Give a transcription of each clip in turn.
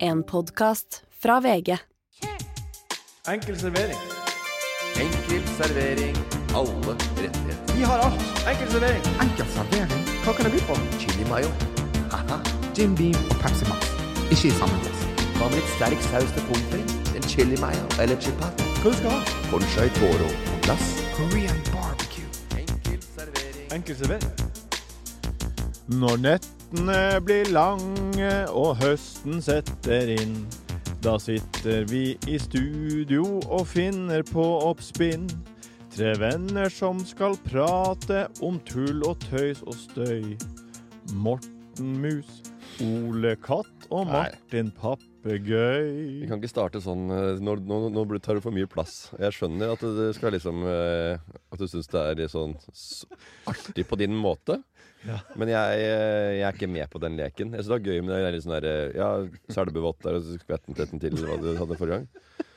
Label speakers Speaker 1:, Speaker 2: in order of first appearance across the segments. Speaker 1: En podkast fra VG.
Speaker 2: Enkel servering.
Speaker 3: Enkel servering. Alle rettigheter.
Speaker 2: Vi har alt. Enkel servering. er
Speaker 4: Enkel servering,
Speaker 2: Hva kan det by på?
Speaker 3: Chili mayo. Haha.
Speaker 4: Jim Beam og Pepsi Max. Ikke i samme glass.
Speaker 3: Hva med litt sterk saus til pommes frites? En chili mayo eller chipat?
Speaker 2: Hva du skal ha?
Speaker 3: Conchai toro på glass.
Speaker 4: Korean barbecue.
Speaker 3: Enkel servering.
Speaker 2: Enkel servering. Når nettene blir lange og høsten setter inn, da sitter vi i studio og finner på oppspinn. Tre venner som skal prate om tull og tøys og støy. Morten Mus, Ole Katt og
Speaker 3: Nei.
Speaker 2: Martin Papegøy.
Speaker 3: Vi kan ikke starte sånn eh, Nå, nå, nå blir- tar du for mye plass. Jeg skjønner at du skal liksom eh, At du syns det er litt sånn s- artig på din måte. Men jeg, eh, jeg er ikke med på den leken. Jeg syns det var gøy med det der litt sånn der eh, Ja, selbevått der, og så skvett den 13 til, eller hva du hadde forrige gang.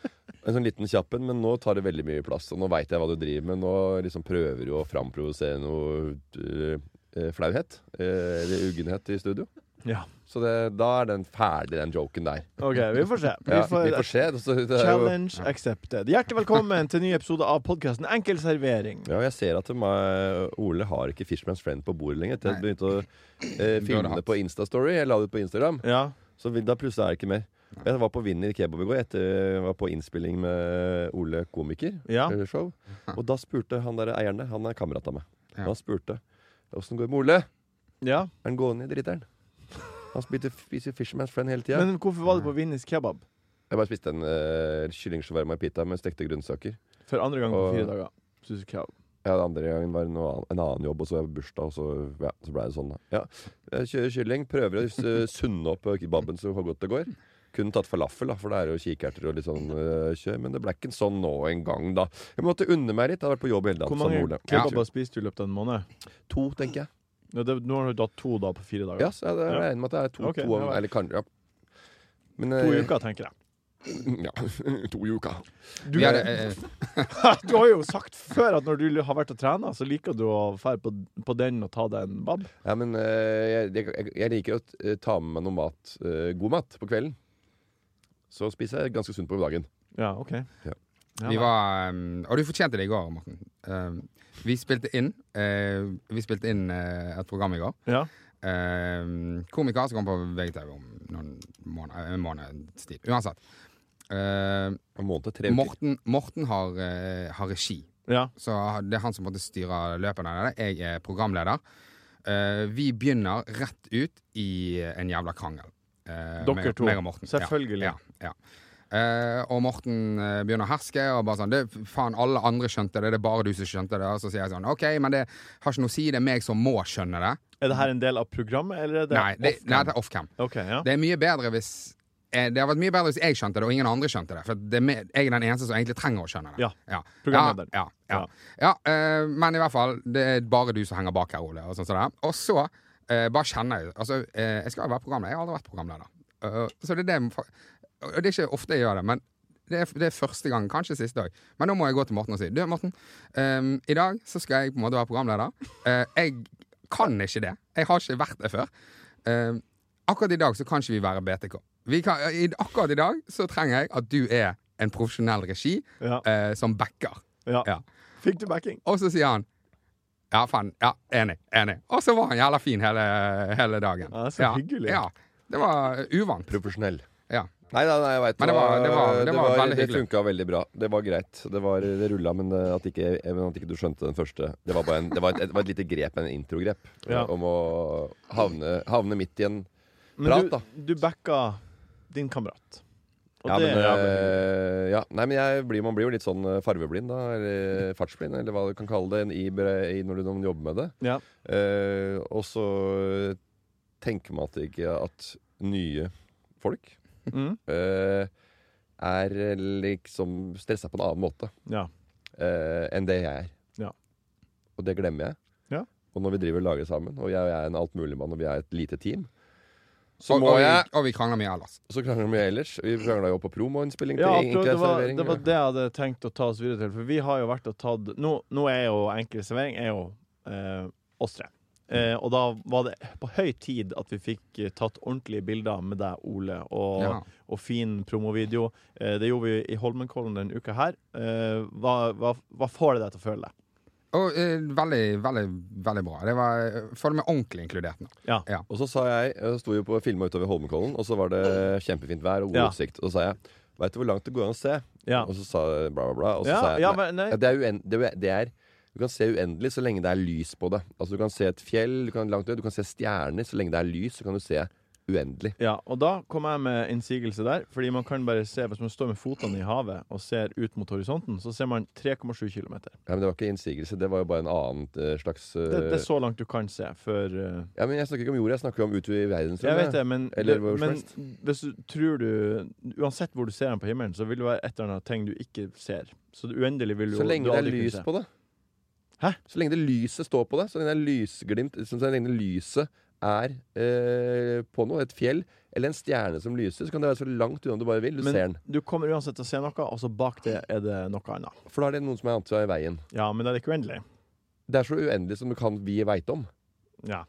Speaker 3: En sånn liten kjapp en, men nå tar det veldig mye plass. Og nå veit jeg hva du driver med. Nå liksom prøver du å framprovosere noe eh, eh, flauhet. eh, Eller uggenhet i studio.
Speaker 2: Ja.
Speaker 3: Så det, da er den ferdig, den joken der.
Speaker 2: OK, vi får se.
Speaker 3: Ja, vi får se. Så det er jo,
Speaker 2: Challenge accepted. Hjertelig velkommen til en ny episode av podkasten Enkel servering.
Speaker 3: ja, jeg ser at meg, Ole har ikke Fishman's Friend på bordet lenger.
Speaker 4: Nei.
Speaker 3: Jeg begynte å eh, filme
Speaker 4: hatt.
Speaker 3: det på Instastory. Jeg la det ut på Instagram.
Speaker 2: Ja.
Speaker 3: Så vi- da plutselig er det ikke mer. Jeg var på Vinner kebab i går etter jeg var på innspilling med Ole komiker.
Speaker 2: Ja.
Speaker 3: eh, Show. Og da spurte han der eieren der, han er kamerat av meg,
Speaker 4: Ja.
Speaker 3: han spurte åssen går det med Ole. Er
Speaker 2: ja.
Speaker 3: han gående i driteren? Han spiser, spiser Fisherman's Friend hele tida.
Speaker 2: Men hvorfor var det på
Speaker 3: Mm.
Speaker 2: Vinnis kebab
Speaker 3: Jeg bare spiste en uh, kyllingshawarma i pita med stekte grønnsaker.
Speaker 2: for andre gang på
Speaker 3: Og-
Speaker 2: fire dager? Synes jeg kebab.
Speaker 3: Ja, den andre gangen var det noe annet, en annen jobb, og så var det bursdag, og så, ja, så ble det sånn. da. Ja. Jeg kjører kylling, prøver å eh, sunne opp kebaben så godt det går. Kunne tatt falafel, da, for det er jo kikerter og litt sånn eh, kjør, men det ble ikke sånn nå engang, da. Jeg måtte unne meg litt, jeg har vært på jobb hele dagen.
Speaker 2: Hvor
Speaker 3: sammen med
Speaker 2: mange
Speaker 3: Ole.
Speaker 2: kebaber spiste du i løpet av en måned?
Speaker 3: Ja, To, tenker jeg.
Speaker 2: Ja, det, nå har du hatt to da på fire dager.
Speaker 3: Ja, så jeg jeg regner med at det er to,
Speaker 2: Ok,
Speaker 3: to
Speaker 2: ja.
Speaker 3: eller kanskje, ja. Men,
Speaker 2: To
Speaker 3: eh,
Speaker 2: uker, tenker jeg.
Speaker 3: Ja, to i uka.
Speaker 2: Du,
Speaker 4: Vi har, eh,
Speaker 2: du har jo sagt før at når du har vært og trena, så liker du å dra på, på den og ta deg en bab.
Speaker 3: Ja, men eh, jeg, jeg, jeg liker å eh, ta med meg noe mat, eh, god mat, på kvelden. Så spiser jeg ganske sunt på dagen.
Speaker 2: Ja, OK.
Speaker 4: vi var um, Og du fortjente det i går, Morten. Um, vi spilte inn eh, Vi spilte inn eh, et program i går.
Speaker 2: Ja.
Speaker 4: Um, komiker som kommer på VGTV om noen måneder, en måneds tid. Uansett. Eh,
Speaker 3: En måned til tre uker.
Speaker 4: Morten, Morten har, eh, har regi.
Speaker 2: ja.
Speaker 4: Så det er han som på en måte styrer løpene. av det. Jeg er programleder. Eh, vi begynner rett ut i en jævla krangel. Eh,
Speaker 2: Dere
Speaker 4: meg-
Speaker 2: to.
Speaker 4: Meg og Morten. Ja,
Speaker 2: Selvfølgelig.
Speaker 4: Ja, ja. Eh, og Morten eh, begynner å herske. Og bare sånn, det, faen, alle andre skjønte det, det er bare du som skjønte det. Og så sier jeg sånn, ok, men det har ikke noe å si, det er meg som må skjønne det.
Speaker 2: Er det her en del av programmet, eller er det
Speaker 4: nei, det,
Speaker 2: off-cam?
Speaker 4: nei, det er off-cam.
Speaker 2: OK, ja.
Speaker 4: Det er mye bedre hvis eh, det har vært mye bedre hvis jeg skjønte det, og ingen andre skjønte det. For det er me- jeg er den eneste som egentlig trenger å skjønne det.
Speaker 2: Ja.
Speaker 4: Ja.
Speaker 2: Programlederen.
Speaker 4: Ja, ja, ja. ja eh, men i hvert fall, det er bare du som henger bak her, Ole. Og, sånn, som det er. og så eh, bare kjenner jeg Altså, eh, jeg skal jo være programleder. Jeg har aldri vært programleder. Eh, så det er det Og det er ikke ofte jeg gjør det, men det er, det er første gang, kanskje siste dag. Men nå må jeg gå til Morten og si Du, Morten, ehm, i dag så skal jeg på en måte være programleder. Eh, jeg kan ikke det. Jeg har ikke vært det før. Ehm, akkurat i dag så kan ikke vi være BTK. Vi kan, i, akkurat i dag så trenger jeg at du er en profesjonell regi
Speaker 2: Ja.
Speaker 4: eh, som backer.
Speaker 2: ja.
Speaker 4: Ja.
Speaker 2: Fikk du backing?
Speaker 4: Og så sier han Ja, faen. Ja, enig. Enig. Og så var han jævla fin hele, hele dagen.
Speaker 2: Ja, så hyggelig.
Speaker 4: Ja. Det var uvant.
Speaker 3: Profesjonell.
Speaker 4: Ja.
Speaker 3: Nei, nei, nei, jeg veit
Speaker 4: Men det var- det var- det var veldig
Speaker 3: det
Speaker 4: hyggelig.
Speaker 3: funka veldig bra. Det var greit. Det, var- det rulla, men eh, at ikke, eh, men at ikke du skjønte den første Det var, bare en, det var, et, det var et lite grep, en introgrep, eh,
Speaker 2: Ja.
Speaker 3: om å havne, havne midt i en
Speaker 2: Men
Speaker 3: Prat, da.
Speaker 2: du, du backa din kamerat. Og
Speaker 3: ja,
Speaker 2: det
Speaker 3: men,
Speaker 2: er jævlig hyggelig.
Speaker 3: eh, ja. Nei, men jeg blir, man blir jo litt sånn eh, farveblind, da. Eller eh, fartsblind, eller hva du kan kalle det en i, i, når du når man jobber med det.
Speaker 2: Ja.
Speaker 3: Eh, og så tenker man at det ikke at nye folk
Speaker 2: Mm.
Speaker 3: eh, er eh, liksom stressa på en annen måte
Speaker 2: ja.
Speaker 3: eh, enn det jeg er.
Speaker 2: Ja.
Speaker 3: Og det glemmer jeg.
Speaker 2: Ja.
Speaker 3: Og når vi driver og lager sammen, og jeg, er en altmuligmann og vi er et lite team, så
Speaker 4: Og,
Speaker 3: må
Speaker 4: og,
Speaker 3: jeg
Speaker 4: vi, og vi krangler mye ellers.
Speaker 3: Så krangler vi ellers. Vi krangla jo på promoinnspilling
Speaker 2: Ja,
Speaker 3: til
Speaker 2: akkurat, det,
Speaker 3: Enkel
Speaker 2: var,
Speaker 3: servering.
Speaker 2: det var det jeg hadde tenkt å ta oss videre til. For vi har jo vært og tatt Nå, nå er jo enkel servering er jo eh, oss tre. Eh, og da var det på høy tid at vi fikk eh, tatt ordentlige bilder med deg, Ole, og,
Speaker 4: Ja.
Speaker 2: og fin promovideo. Eh, det gjorde vi i Holmenkollen denne uka her. Eh, hva, hva, hva får det deg til å føle?
Speaker 4: Og eh, veldig, veldig, veldig bra. Det var, jeg føler meg ordentlig inkludert nå.
Speaker 2: Ja.
Speaker 4: Ja.
Speaker 3: Og så sa jeg, jeg sto jo på filma utover Holmenkollen, og så var det kjempefint vær og god
Speaker 2: Ja.
Speaker 3: utsikt. Og så sa jeg Veit du hvor langt det går an å se?
Speaker 2: Ja.
Speaker 3: Og så sa jeg bla, bla, bla. Og så
Speaker 2: Ja,
Speaker 3: sa jeg
Speaker 2: ja, men nei.
Speaker 3: det, er uen, det, er, det er Du kan se uendelig så lenge det er lys på det. Altså Du kan se et fjell, du kan, langt, ned, du kan se stjerner. Så lenge det er lys, så kan du se uendelig.
Speaker 2: Ja, og da kom jeg med innsigelse der, fordi man kan bare se, hvis man står med fotene i havet og ser ut mot horisonten, så ser man 3,7 km.
Speaker 3: Ja, men det var ikke innsigelse, det var jo bare en annen eh, slags eh,
Speaker 2: Det, det er så langt du kan se før eh,
Speaker 3: Ja, men Jeg snakker ikke om jorda, jeg snakker om ute i verdensrommet.
Speaker 2: Jeg vet det, men,
Speaker 3: Eller
Speaker 2: det-
Speaker 3: hvor som
Speaker 2: men
Speaker 3: helst.
Speaker 2: hvis du tror du Uansett hvor du ser den på himmelen, så vil det være et eller annet ting du ikke ser. Så det- uendelig vil du
Speaker 3: Så lenge
Speaker 2: du
Speaker 3: det er
Speaker 2: aldri kunne
Speaker 3: lys
Speaker 2: se.
Speaker 3: på det.
Speaker 2: Hæ?
Speaker 3: Så lenge det lyset står på det. Så lenge det er lysglimt liksom, Så lenge lyset er eh, på noe, et fjell eller en stjerne som lyser, så kan det være så langt unna du bare vil. Du ser den.
Speaker 2: Men du kommer uansett til å se noe, og så bak det er det noe annet.
Speaker 3: For da er det noen som er annet i veien.
Speaker 2: Ja, men det er ikke uendelig.
Speaker 3: Det er så uendelig som du kan vi veit om.
Speaker 2: Ja.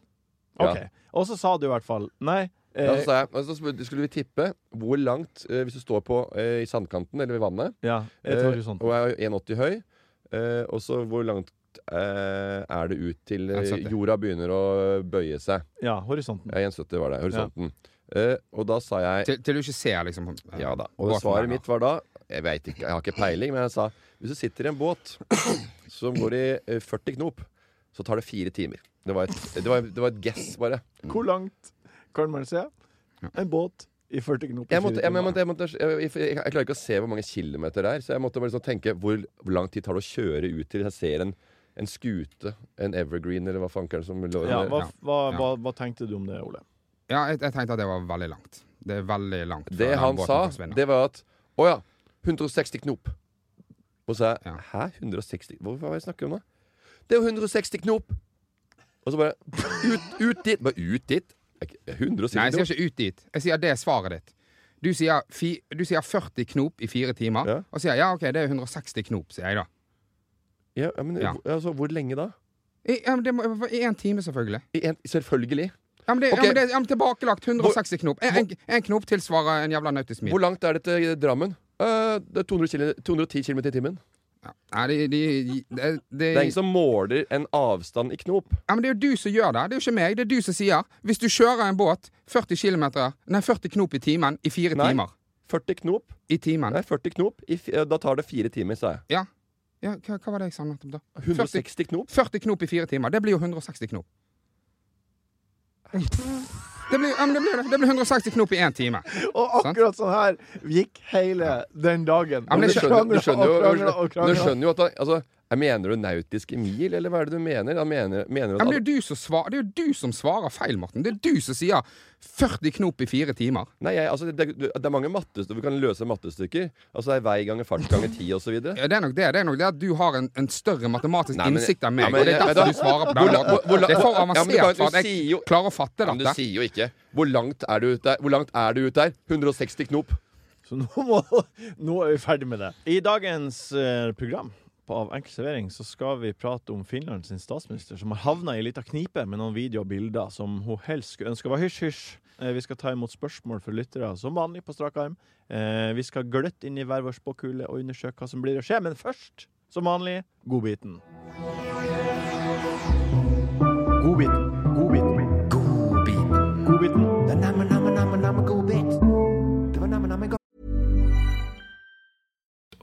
Speaker 3: Ja.
Speaker 2: OK. Og så sa du i hvert fall Nei.
Speaker 3: Ja,
Speaker 2: Eh,
Speaker 3: så sa jeg, og så spurte- skulle vi tippe hvor langt, eh, hvis du står på eh, i sandkanten eller ved vannet,
Speaker 2: ja, jeg
Speaker 3: eh,
Speaker 2: tror ikke sånn.
Speaker 3: og er 1,80 høy, eh, og så hvor langt eh, er det ut til eh,
Speaker 4: 1,70.
Speaker 3: jorda begynner å bøye seg.
Speaker 2: Ja, horisonten.
Speaker 3: Ja, 1,70 var det. Horisonten. Eh, og da sa jeg
Speaker 4: Til, til du ikke ser liksom eh,
Speaker 3: Ja da. Og
Speaker 4: båten der,
Speaker 3: svaret
Speaker 4: da.
Speaker 3: mitt var da Jeg vet ikke, jeg har ikke peiling, men jeg sa hvis du sitter i en båt som går i eh, 40 knop, så tar det fire timer. Det var et, det var, det var et guess, bare.
Speaker 2: Hvor langt kan man se en båt i 40 knop? i
Speaker 3: Jeg, måtte,
Speaker 2: fire
Speaker 3: jeg, jeg,
Speaker 2: timer?
Speaker 3: måtte, jeg, måtte, jeg, jeg, jeg, jeg klarer ikke å se hvor mange kilometer det er, så jeg måtte bare sånn tenke hvor, hvor lang tid tar det å kjøre ut til jeg ser en, en skute, en evergreen, eller hva fankeren som lå
Speaker 2: ja, hva,
Speaker 3: der.
Speaker 2: hva,
Speaker 4: Ja.
Speaker 2: hva, hva tenkte du om det, Ole?
Speaker 4: Ja, jeg, jeg tenkte at det var veldig langt. Det er veldig langt. fra
Speaker 3: Det
Speaker 4: den
Speaker 3: han
Speaker 4: båten
Speaker 3: sa,
Speaker 4: forsvinner.
Speaker 3: det var at Å ja, 160 knop. Og så sa
Speaker 4: Ja.
Speaker 3: jeg Hæ? 160 Hva hva er det jeg snakker om da? Det er jo 160 knop! Og så bare Ut, ut dit! Bare ut dit? Er ikke- er 160
Speaker 4: Nei, jeg
Speaker 3: knop?
Speaker 4: sier ikke ut dit. Jeg sier det er svaret ditt. Du sier, fi, du sier 40 knop i fire timer,
Speaker 3: Ja.
Speaker 4: og sier ja, OK, det er 160 knop, sier jeg da.
Speaker 3: Ja, ja, men
Speaker 4: Ja.
Speaker 3: hvor- Altså, hvor lenge da?
Speaker 4: I, ja, men det må være én time, selvfølgelig.
Speaker 3: I en, selvfølgelig.
Speaker 4: Ja, men det,
Speaker 3: Ok.
Speaker 4: ja, men det ja, men tilbakelagt 160 knop. En, en, en knop tilsvarer en jævla nautisk mil.
Speaker 3: Hvor langt er det til Drammen? Eh, det er 200 kilo, 210 km i timen.
Speaker 4: Ja. Nei, de, de, de, de,
Speaker 3: Det er ingen som måler en avstand i knop.
Speaker 4: ja, men det er jo du som gjør det. Det er jo ikke meg. Det er du som sier hvis du kjører en båt 40, kilometer- nei, 40 knop i timen i fire
Speaker 3: Nei.
Speaker 4: timer
Speaker 3: 40 knop.
Speaker 4: I timen.
Speaker 3: Nei, 40 knop. I, fi- da tar det fire timer, sa jeg.
Speaker 4: Ja. ja hva, hva var det jeg sa nettopp, da?
Speaker 3: 160 knop.
Speaker 4: 40 knop i fire timer. Det blir jo 160 knop. Det blir, ja, men det, blir, det. det blir 160 knop i én time.
Speaker 2: Og akkurat sånn her gikk hele den dagen.
Speaker 4: Ja, men
Speaker 3: Men
Speaker 2: Vi
Speaker 3: du skjønner, du
Speaker 2: kranglet
Speaker 3: skjønner,
Speaker 2: og kranglet
Speaker 3: jo,
Speaker 2: og
Speaker 3: men du
Speaker 2: kranglet.
Speaker 3: skjønner jo at da, altså, jeg Mener du nautiske mil, eller hva er det du mener? Han mener, mener
Speaker 4: Ja, men
Speaker 3: at,
Speaker 4: det, er jo du som svar, det er jo du som svarer feil, Morten. Det er du som sier 40 knop i fire timer.
Speaker 3: nei, jeg, altså, det, det er mange mattestykker, vi kan løse mattestykker. Altså det er vei ganger fart ganger ti
Speaker 4: Ja,
Speaker 3: osv.
Speaker 4: det er nok det. Det er nok det at du har en, en større matematisk
Speaker 3: Nei, men-
Speaker 4: innsikt enn
Speaker 3: Ja,
Speaker 4: meg.
Speaker 3: men-
Speaker 4: og det er
Speaker 3: ja,
Speaker 4: derfor
Speaker 3: men
Speaker 4: du
Speaker 3: da-
Speaker 4: svarer på
Speaker 3: hvor
Speaker 4: den
Speaker 3: la- hvor
Speaker 4: måten.
Speaker 3: la-
Speaker 4: Det er for
Speaker 3: Ja, men du
Speaker 4: avansert
Speaker 3: kan- du
Speaker 4: for at
Speaker 3: sier
Speaker 4: jeg
Speaker 3: jo-
Speaker 4: klarer å fatte
Speaker 3: Men du
Speaker 4: dette.
Speaker 3: sier jo ikke Hvor langt er du ut der? Hvor langt er du ut der? 160 knop.
Speaker 2: Så nå, må, nå er vi ferdig med det. I dagens eh, program på Av enkel servering så skal vi prate om Finland sin statsminister, som har havna i ei lita knipe med noen videoer og bilder som hun helst skulle ønske var hysj-hysj. Eh, Vi skal ta imot spørsmål fra lyttere som vanlig på strak arm. Eh, Vi skal gløtte inn i hver vår spåkule og undersøke hva som blir å skje. Men først, som vanlig, godbiten. Godbiten. Godbiten. Godbiten.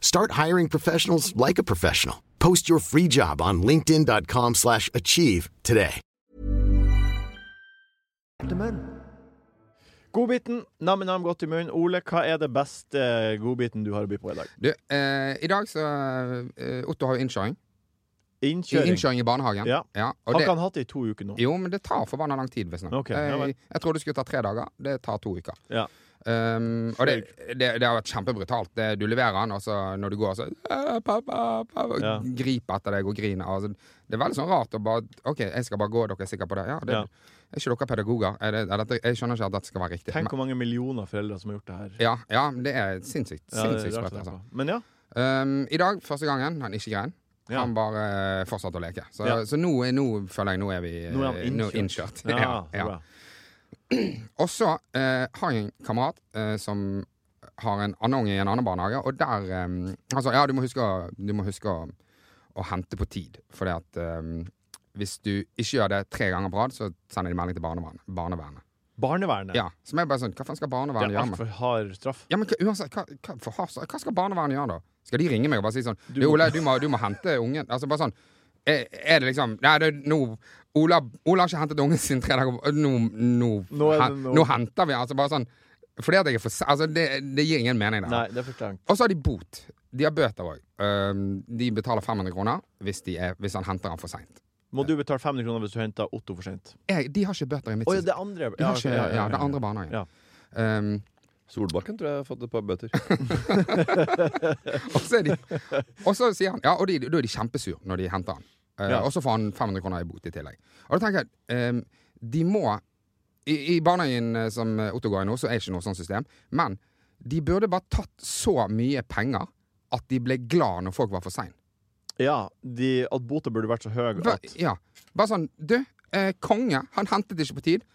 Speaker 5: Start hiring professionals like a professional. Post your free job on linkedin.com/achieve slash achieve today.
Speaker 2: Godbiten, nam-nam godt i munnen. Ole, hva er det beste eh, godbiten du har å by på i dag?
Speaker 4: Du, eh, I dag så eh, Otto har jo innkjøring.
Speaker 2: Innkjøring.
Speaker 4: Innkjøring i barnehagen.
Speaker 2: Ja.
Speaker 4: og
Speaker 2: Han
Speaker 4: det,
Speaker 2: kan ha hatt det i to uker nå.
Speaker 4: Jo, men det tar forbanna lang tid, visstnok.
Speaker 2: Ok, ja vel.
Speaker 4: jeg, jeg trodde det skulle ta tre dager. Det tar to uker.
Speaker 2: Ja.
Speaker 4: Um, og det, det, det har vært kjempebrutalt. Det, du leverer han, og så når du går, så «Æ, pappa, pappa, og
Speaker 2: Ja.
Speaker 4: griper etter deg og griner. Altså, det er veldig sånn rart å bare OK, jeg skal bare gå, dere er sikre på det? Ja, det
Speaker 2: Ja.
Speaker 4: Er ikke dere pedagoger? Er det, er dette, jeg skjønner ikke at dette skal være riktig.
Speaker 2: Tenk
Speaker 4: Men-
Speaker 2: hvor mange millioner foreldre som har gjort det her.
Speaker 4: ja, ja, men det er sinnssykt.
Speaker 2: Ja, det er
Speaker 4: Sinnssykt
Speaker 2: rart
Speaker 4: sprøtt,
Speaker 2: å
Speaker 4: altså.
Speaker 2: tenke på. Men ja.
Speaker 4: Um, I dag, første gangen, han ikke grein.
Speaker 2: Ja.
Speaker 4: Han bare eh, fortsatte å leke. Så,
Speaker 2: Ja.
Speaker 4: så nå, er- nå føler jeg nå er vi eh,
Speaker 2: Nå er han
Speaker 4: nå innkjørt.
Speaker 2: innkjørt.
Speaker 4: Ja, ja.
Speaker 2: bra.
Speaker 4: Og så eh, har jeg en kamerat eh, som har en annen unge i en annen barnehage, og der eh, Han sa ja, du må huske, å- du må huske å, å hente på tid, fordi at eh, hvis du ikke gjør det tre ganger på rad, så sender de melding til barnevernet. barnevernet.
Speaker 2: Barnevernet.
Speaker 4: Ja, Som er bare sånn Hva faen skal
Speaker 2: Det
Speaker 4: barnevernet
Speaker 2: er
Speaker 4: gjøre med
Speaker 2: altfor hard straff.
Speaker 4: Ja, men hva- uansett, hva, hva, for, har- hva skal barnevernet gjøre da? Skal de ringe meg og bare si sånn du,
Speaker 2: Du må-
Speaker 4: Ole, du må, du må hente ungen. Altså bare sånn Er, er det liksom Nei, det, er nå Ola, Ola har ikke hentet ungen sin tre dager øh, Nå, nå,
Speaker 2: Nå er det
Speaker 4: hen-
Speaker 2: nå.
Speaker 4: nå henter vi Altså bare sånn Fordi at jeg er for se- Altså det, det gir ingen mening der.
Speaker 2: Nei, det er for strengt.
Speaker 4: Og så har de bot. De har bøter òg. de betaler 500 kroner hvis, de er, hvis han henter han for seint.
Speaker 2: Må du betale 500 kroner hvis du henter Otto for sent?
Speaker 4: De har ikke bøter i mitt
Speaker 2: Å ja,
Speaker 4: system.
Speaker 2: det andre
Speaker 4: De har
Speaker 2: ok,
Speaker 4: ikke, ja, det er andre barnehagen.
Speaker 2: Ja.
Speaker 4: Ehm,
Speaker 3: Solbakken tror jeg har fått et par bøter.
Speaker 4: Og så, er de, og så sier han Ja, og de, da er de kjempesur når de henter han. Eh,
Speaker 2: Ja.
Speaker 4: Og så får han 500 kroner i bot i tillegg. Og da tenker jeg eh, De må I, i barnehagen eh, som Otto går i nå, så er det ikke noe sånt system. Men de burde bare tatt så mye penger at de ble glad når folk var for sein.
Speaker 2: Ja, de, at bota burde vært så høy
Speaker 4: Ba,
Speaker 2: at
Speaker 4: ja. Bare sånn Du, eh, konge, han hentet ikke på tid.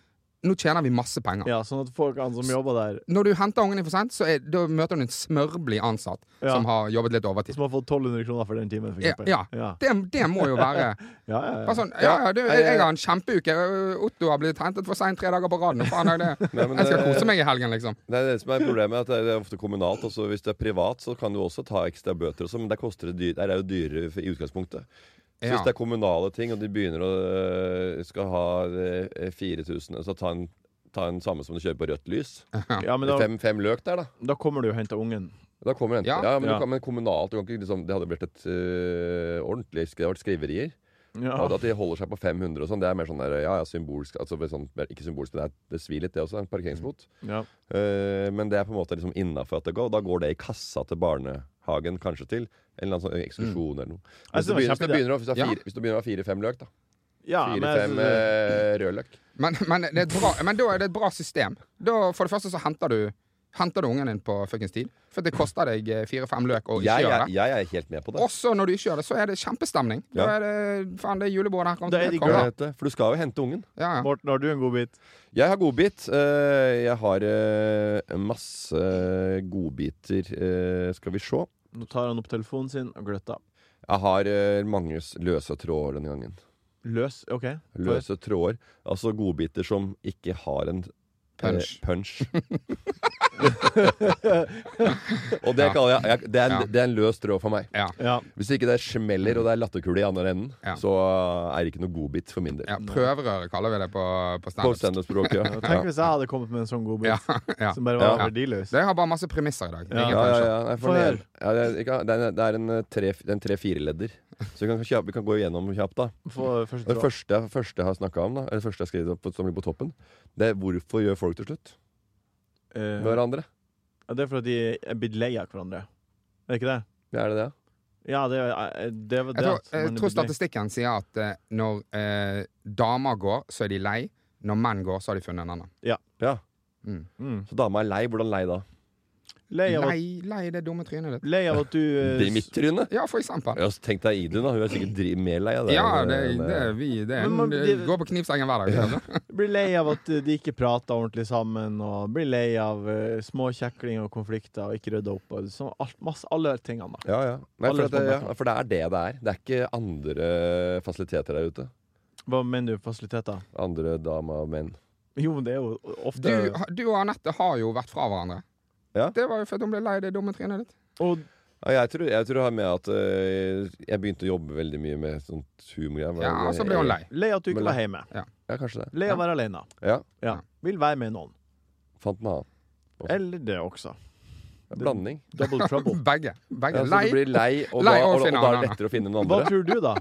Speaker 4: Nå tjener vi masse penger.
Speaker 2: Ja, sånn at folkene som jobber der,
Speaker 4: Når du henter ungen din for seint, så er, da møter du en smørblid ansatt
Speaker 2: Ja.
Speaker 4: som har jobbet litt overtid.
Speaker 2: som har fått 1200 kroner for den timen, for
Speaker 4: Ja,
Speaker 2: eksempel.
Speaker 4: ja.
Speaker 2: ja.
Speaker 4: Det, det må jo være
Speaker 2: Ja, ja, ja.
Speaker 4: Bare sånn, ja, ja, du, jeg, jeg har en kjempeuke. Otto har blitt hentet for seint tre dager på rad. Nå faen er det
Speaker 3: Nei, men eh,
Speaker 4: Jeg skal
Speaker 3: det-
Speaker 4: kose meg i helgen, liksom.
Speaker 3: Nei, det som er Problemet er at det er ofte kommunalt. Også hvis det er privat, så kan du også ta ekstra bøter. Også, men der, koster det dyr, der er det jo dyrere for- i utgangspunktet. Så
Speaker 4: Ja.
Speaker 3: Hvis det er kommunale ting, og de begynner å øh, skal ha øh, 4000 altså ta en, ta en samme som du kjører på rødt lys.
Speaker 2: ja, men da,
Speaker 3: Fem, fem løk der, da.
Speaker 2: da kommer du og henter ungen.
Speaker 3: Da kommer det
Speaker 4: Ja.
Speaker 3: ja. ja, men, du
Speaker 2: Ja.
Speaker 3: kan, men kommunalt du kan ikke, liksom, Det hadde blitt et øh, ordentlig sk- Det hadde vært skriverier.
Speaker 2: Ja.
Speaker 3: Og At de holder seg på 500 og sånn, det er mer sånn der, ja, ja, symbolsk altså, sånn, Ikke symbolsk, men det, er, det svir litt, det også. En parkeringsbot.
Speaker 2: Ja.
Speaker 3: Eh, men det er på en måte liksom innafor at det går. og Da går det i kassa til barnehagen, kanskje til. Eller en eller annen sånn ekskursjon eller noe.
Speaker 2: Jeg synes
Speaker 3: Hvis du
Speaker 2: Mm. det var
Speaker 3: begynner, hvis du
Speaker 2: kjempeidé.
Speaker 3: begynner, å- hvis du har
Speaker 4: Ja.
Speaker 3: fire- hvis du begynner å ha fire-fem løk, da.
Speaker 2: Ja, men jeg
Speaker 3: Fire-fem
Speaker 2: synes-
Speaker 3: eh, rødløk.
Speaker 4: Men, men, det er et bra, men da er det et bra system. Da, for det første så henter du Henter du ungen din på fuckings tid. For det koster deg eh, fire-fem løk å ikke
Speaker 3: Jeg,
Speaker 4: gjøre
Speaker 3: jeg,
Speaker 4: det.
Speaker 3: jeg er helt med på det.
Speaker 4: Også når du ikke gjør det, så er det kjempestemning. Da
Speaker 3: Ja.
Speaker 4: er det faen, det er julebord her. Kom,
Speaker 2: Da er de
Speaker 4: kom,
Speaker 3: Hva
Speaker 2: glad.
Speaker 4: da.
Speaker 3: heter det? For du skal jo hente ungen.
Speaker 4: Ja, ja.
Speaker 2: Morten, har du en godbit?
Speaker 3: Jeg har godbit. Eh, jeg har eh, masse godbiter. Eh, skal vi se.
Speaker 2: Nå tar han opp telefonen sin og gløtter.
Speaker 3: Jeg har eh, mange s- løse tråder denne gangen.
Speaker 2: Løs, OK?
Speaker 3: Løse tråder. Altså godbiter som ikke har en eh,
Speaker 4: Punch.
Speaker 3: punch. og det,
Speaker 4: Ja.
Speaker 3: kaller jeg, jeg det, er en,
Speaker 4: Ja.
Speaker 3: det er en løs tråd for meg.
Speaker 2: Ja.
Speaker 3: Hvis ikke det smeller og det er latterkule i andre enden,
Speaker 4: Ja.
Speaker 3: så eh, er det ikke noe godbit for min del.
Speaker 4: ja Prøverøre kaller vi det på, på
Speaker 3: På
Speaker 4: standup.
Speaker 3: standup-språket. Ja.
Speaker 2: Tenk hvis jeg hadde kommet med en sånn godbit
Speaker 4: Ja, ja.
Speaker 2: som bare var
Speaker 3: Ja.
Speaker 2: verdiløs.
Speaker 4: Det har bare masse premisser i dag.
Speaker 2: Ja.
Speaker 4: Ingen
Speaker 3: Ja, ja,
Speaker 4: punsjer.
Speaker 3: ja. Nei,
Speaker 2: Få
Speaker 3: for den
Speaker 2: høre.
Speaker 3: er- ja, det, er- ikke- det er en- det er en eh, tre- det er en tre-fire-ledder. Så vi kan, kjapt- vi kan gå igjennom kjapt, da.
Speaker 2: Få første
Speaker 3: Det
Speaker 2: tråd.
Speaker 3: første, jeg- første jeg har snakket om, da, eller første jeg har skrevet opp som ligger på toppen, det er hvorfor gjør folk til slutt
Speaker 2: Eh,
Speaker 3: med hverandre?
Speaker 2: ja, det er fordi de er blitt lei av hverandre. Er det ikke det?
Speaker 3: Ja, er det det?
Speaker 2: Ja, det, er- eh, det var
Speaker 4: Jeg
Speaker 2: det.
Speaker 4: tror,
Speaker 2: at man
Speaker 4: jeg
Speaker 2: er
Speaker 4: tror
Speaker 2: blitt lei.
Speaker 4: statistikken sier at eh, når eh, damer går, så er de lei. Når menn går, så har de funnet en annen.
Speaker 3: Ja.
Speaker 4: Mm.
Speaker 2: Mm.
Speaker 3: Så dama er lei. Hvordan lei da?
Speaker 2: Lei, av at,
Speaker 4: Lei, lei det dumme trynet ditt.
Speaker 2: lei av at du eh,
Speaker 3: Det er i mitt tryne.
Speaker 4: Ja, for eksempel.
Speaker 3: Ja, så tenk deg Idun, da. Hun er sikkert dri- mer lei av det.
Speaker 4: Ja, det,
Speaker 3: enn,
Speaker 4: det,
Speaker 3: eh,
Speaker 4: er vi, det er
Speaker 2: Men man-
Speaker 4: en,
Speaker 2: det-
Speaker 4: går på knivsengen hver dag. liksom. ikke sant?
Speaker 2: Blir lei av at eh, de ikke prater ordentlig sammen, og blir lei av eh, små kjeklinger og konflikter og ikke rydder opp. Og sånn, alt, masse, alle tingene da
Speaker 3: eh, Ja, ja. Nei,
Speaker 2: Alle
Speaker 3: for, at, det-
Speaker 2: småbarn.
Speaker 3: ja, for det er det det er. Det er ikke andre fasiliteter der ute.
Speaker 2: Hva mener du fasiliteter?
Speaker 3: Andre damer og menn.
Speaker 2: Jo, men det er jo ofte
Speaker 4: Du, du og Anette har jo vært fra hverandre.
Speaker 3: Ja.
Speaker 4: Det var jo fordi hun ble lei det dumme trynet ditt.
Speaker 2: Og
Speaker 3: Ja, jeg, tror, jeg tror det har med at øh, jeg begynte å jobbe veldig mye med sånt humorgreier.
Speaker 4: Ja, og så ble hun lei.
Speaker 2: lei at du ikke
Speaker 3: Men
Speaker 2: var
Speaker 3: la-
Speaker 2: hjemme.
Speaker 3: Ja, kanskje det.
Speaker 2: Lei av å være alene.
Speaker 3: Ja,
Speaker 2: Ja. Vil være med noen.
Speaker 3: Fant en annen.
Speaker 2: Eller det også.
Speaker 3: Blanding.
Speaker 2: Double trouble.
Speaker 4: Begge. Begge
Speaker 3: Ja, så
Speaker 4: lei.
Speaker 3: du blir lei, og da,
Speaker 4: Lei og
Speaker 3: og, og,
Speaker 4: finne
Speaker 3: da er
Speaker 4: annen.
Speaker 3: det lettere å finne noen
Speaker 2: Hva
Speaker 3: andre.
Speaker 2: tror du, da?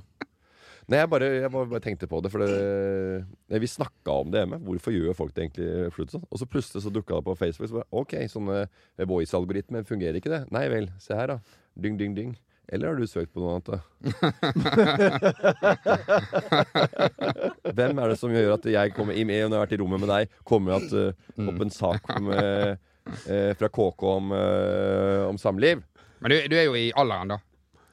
Speaker 3: Nei, jeg bare, jeg bare, bare tenkte på det, for det, ja, vi snakka om det hjemme. Hvorfor gjør folk det egentlig slutt sånn? Og så plutselig så dukka det på Facebook. Så bare, OK, sånne voice-algoritmer, fungerer ikke det? Nei vel, se her, da. Dyng, dyng, dyng. Eller har du søkt på noe annet? da? Hvem er det som gjør at jeg kommer i når jeg har vært i rommet med deg, kommer at, eh, opp en sak om, eh, eh, fra KK om, eh, om samliv?
Speaker 4: Men du, du er jo i alderen, da.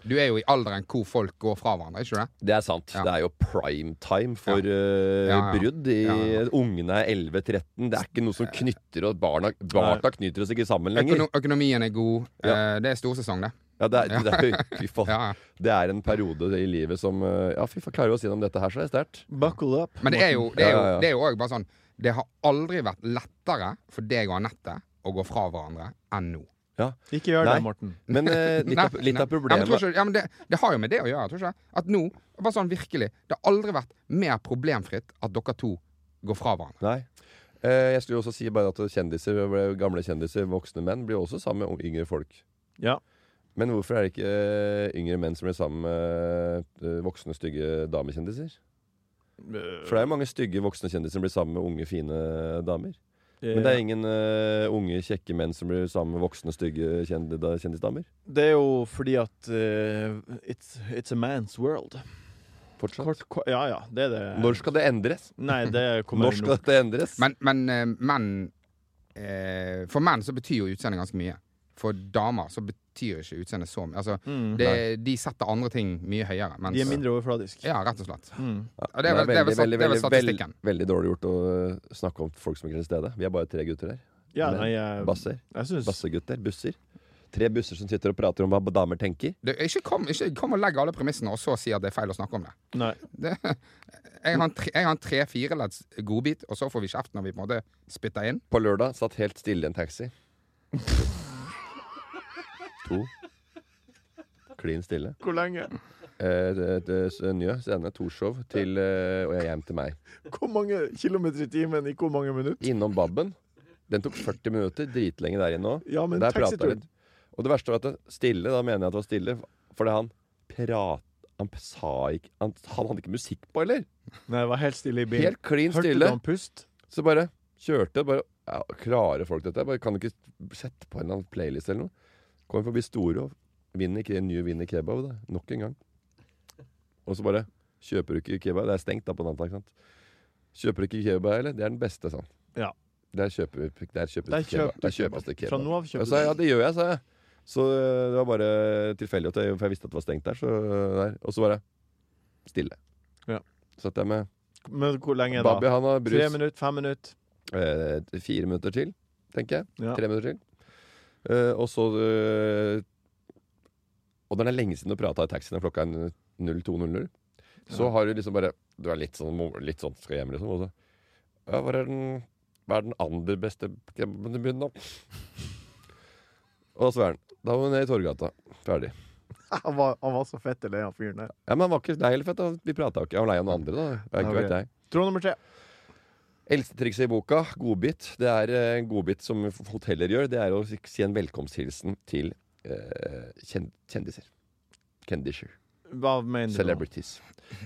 Speaker 4: Du er jo i alderen hvor folk går fra hverandre, ikke det?
Speaker 3: Det er sant.
Speaker 4: Ja.
Speaker 3: Det er jo prime time for eh,
Speaker 4: Ja, ja.
Speaker 3: brudd. I,
Speaker 4: Ja, ja.
Speaker 3: Ungene er 11-13. Det er ikke noe som knytter oss barna, barna knytter oss ikke sammen lenger.
Speaker 4: Økono økonomien er god.
Speaker 3: Ja.
Speaker 4: Eh, det er storsesong, det.
Speaker 3: Ja, det, er, det, er, fy faen.
Speaker 4: Ja, ja.
Speaker 3: det er en periode i livet som eh, Ja, fy faen, klarer vi oss gjennom dette her, så er det sterkt.
Speaker 2: Buckle up.
Speaker 4: Men det er jo det er jo,
Speaker 3: Ja, ja, ja.
Speaker 4: det er jo også bare sånn Det har aldri vært lettere for deg og Anette å gå fra hverandre enn nå.
Speaker 3: Ja.
Speaker 2: Ikke gjør
Speaker 3: Nei.
Speaker 2: det, Morten.
Speaker 3: Men eh, litt, av,
Speaker 4: Nei,
Speaker 3: litt
Speaker 4: nei. Ja, men,
Speaker 3: av problemet
Speaker 4: tror ikke, ja, men det, det har jo med det å gjøre, tror ikke jeg. At nå, bare sånn virkelig Det har aldri vært mer problemfritt at dere to går fra hverandre.
Speaker 3: Nei. Eh, jeg skulle jo også si bare at kjendiser, gamle kjendiser, voksne menn, blir jo også sammen med yngre folk.
Speaker 2: Ja.
Speaker 3: Men hvorfor er det ikke eh, yngre menn som blir sammen med eh, voksne, stygge damekjendiser? For det er jo mange stygge voksne kjendiser som blir sammen med unge, fine damer. Men det er ingen eh, unge, kjekke menn som blir sammen med voksne, stygge kjendi- da- kjendisdamer.
Speaker 2: Det er jo fordi at eh, it's, it's a man's world.
Speaker 3: Fortsatt.
Speaker 2: Kort, ko- ja, ja, det er det.
Speaker 3: Når skal det endres?
Speaker 2: Nei, det kommer
Speaker 3: Når skal dette endres?
Speaker 4: Men, men eh, menn eh, For menn så betyr jo utseendet ganske mye. For damer så betyr ikke utseendet så mye. Altså,
Speaker 2: Mm.
Speaker 4: det, de setter andre ting mye høyere. Mens,
Speaker 2: De er mindre overfladiske.
Speaker 4: Ja, rett og slett.
Speaker 2: Mm.
Speaker 3: Ja,
Speaker 4: det er vel- det er vel stat- det er vel
Speaker 3: veldig,
Speaker 4: statistikken.
Speaker 3: veldig dårlig gjort å eh, snakke om folk som ikke er til stede. Vi er bare tre gutter her.
Speaker 2: Ja,
Speaker 3: Men
Speaker 2: nei, jeg,
Speaker 3: Basser.
Speaker 2: jeg syns
Speaker 3: Bassegutter. Busser. Tre busser som sitter og prater om hva damer tenker.
Speaker 4: Det, ikke, kom, ikke kom og legg alle premissene og så si at det er feil å snakke om det.
Speaker 2: Nei.
Speaker 4: det jeg har en tre- jeg har en tre-fireledds godbit, og så får vi kjeft når vi på en måte spytter inn.
Speaker 3: På lørdag satt helt stille i en taxi. to. Klin stille.
Speaker 2: Hvor lenge?
Speaker 3: Eh, det- det- s- Njø sende Torshov til eh, og jeg hjem til meg.
Speaker 2: Hvor mange kilometer i timen i hvor mange minutter?
Speaker 3: Innom Babben. Den tok 40 minutter. Dritlenge der inne òg.
Speaker 2: Ja, men
Speaker 3: Der pratet jeg
Speaker 2: taxituren.
Speaker 3: litt. Og det verste var at det, stille, da mener jeg at det var stille, fordi han prat... Han sa ikke han, han hadde ikke musikk på, eller?
Speaker 2: Nei, det var helt stille i bilen.
Speaker 3: Helt klin
Speaker 2: Hørte
Speaker 3: stille.
Speaker 2: du han pust?
Speaker 3: Så bare kjørte bare, ja, Klarer folk dette? Bare, kan du ikke sette på en eller annen playlist eller noe? Kommer forbi Storå, vinner ke- ny vinner kebab, da. Nok en gang. Og så bare Kjøper du ikke kebab? Det er stengt da på natta, ikke sant? Kjøper du ikke kebab, eller? Det er den beste, sa han.
Speaker 2: Ja.
Speaker 3: Der kjøper vi der kjøpes
Speaker 2: Der
Speaker 3: det
Speaker 2: kjøper
Speaker 3: kebab.
Speaker 2: du
Speaker 3: Der
Speaker 2: kebab.
Speaker 3: kjøpes det
Speaker 2: Fra
Speaker 3: kebab.
Speaker 2: nå av kjøper
Speaker 3: jeg sa,
Speaker 2: du.
Speaker 3: ja, det gjør jeg, sa jeg. Så øh, det var bare tilfeldig, at jeg, for jeg visste at det var stengt der. Så, øh, der. Og så bare stille.
Speaker 2: Ja.
Speaker 3: Satt jeg med
Speaker 2: Men hvor lenge da?
Speaker 3: Babi, han har brus.
Speaker 2: Tre minutter? Fem minutter?
Speaker 3: Eh, fire minutter til, tenker jeg.
Speaker 2: Ja.
Speaker 3: Tre minutter til. Eh, og så eh, Og når det er lenge siden du prata i taxien, og klokka er 02.00, så har du liksom bare Du er litt sånn, mo- litt sånn skal hjem, liksom. Og så Ja, hva er den Hva er den andre beste kebaben i byen, da? og så er den Da var vi ned i Torgata. Ferdig.
Speaker 2: Han var, han var så fett eller han fyren der.
Speaker 3: Ja, Men han var ikke lei eller fett. da. Vi prata jo ikke. Jeg var lei av noen andre, da. Jeg,
Speaker 2: Ja,
Speaker 3: ikke
Speaker 2: ok.
Speaker 3: vet jeg.
Speaker 2: Tråd nummer tre.
Speaker 3: Eldste trikset i boka, godbit, det er eh, en godbit som hoteller gjør. Det er å si en velkomsthilsen til eh, kjen kjendiser. Kendisher.
Speaker 2: Hva mener du? nå?
Speaker 3: Celebrities.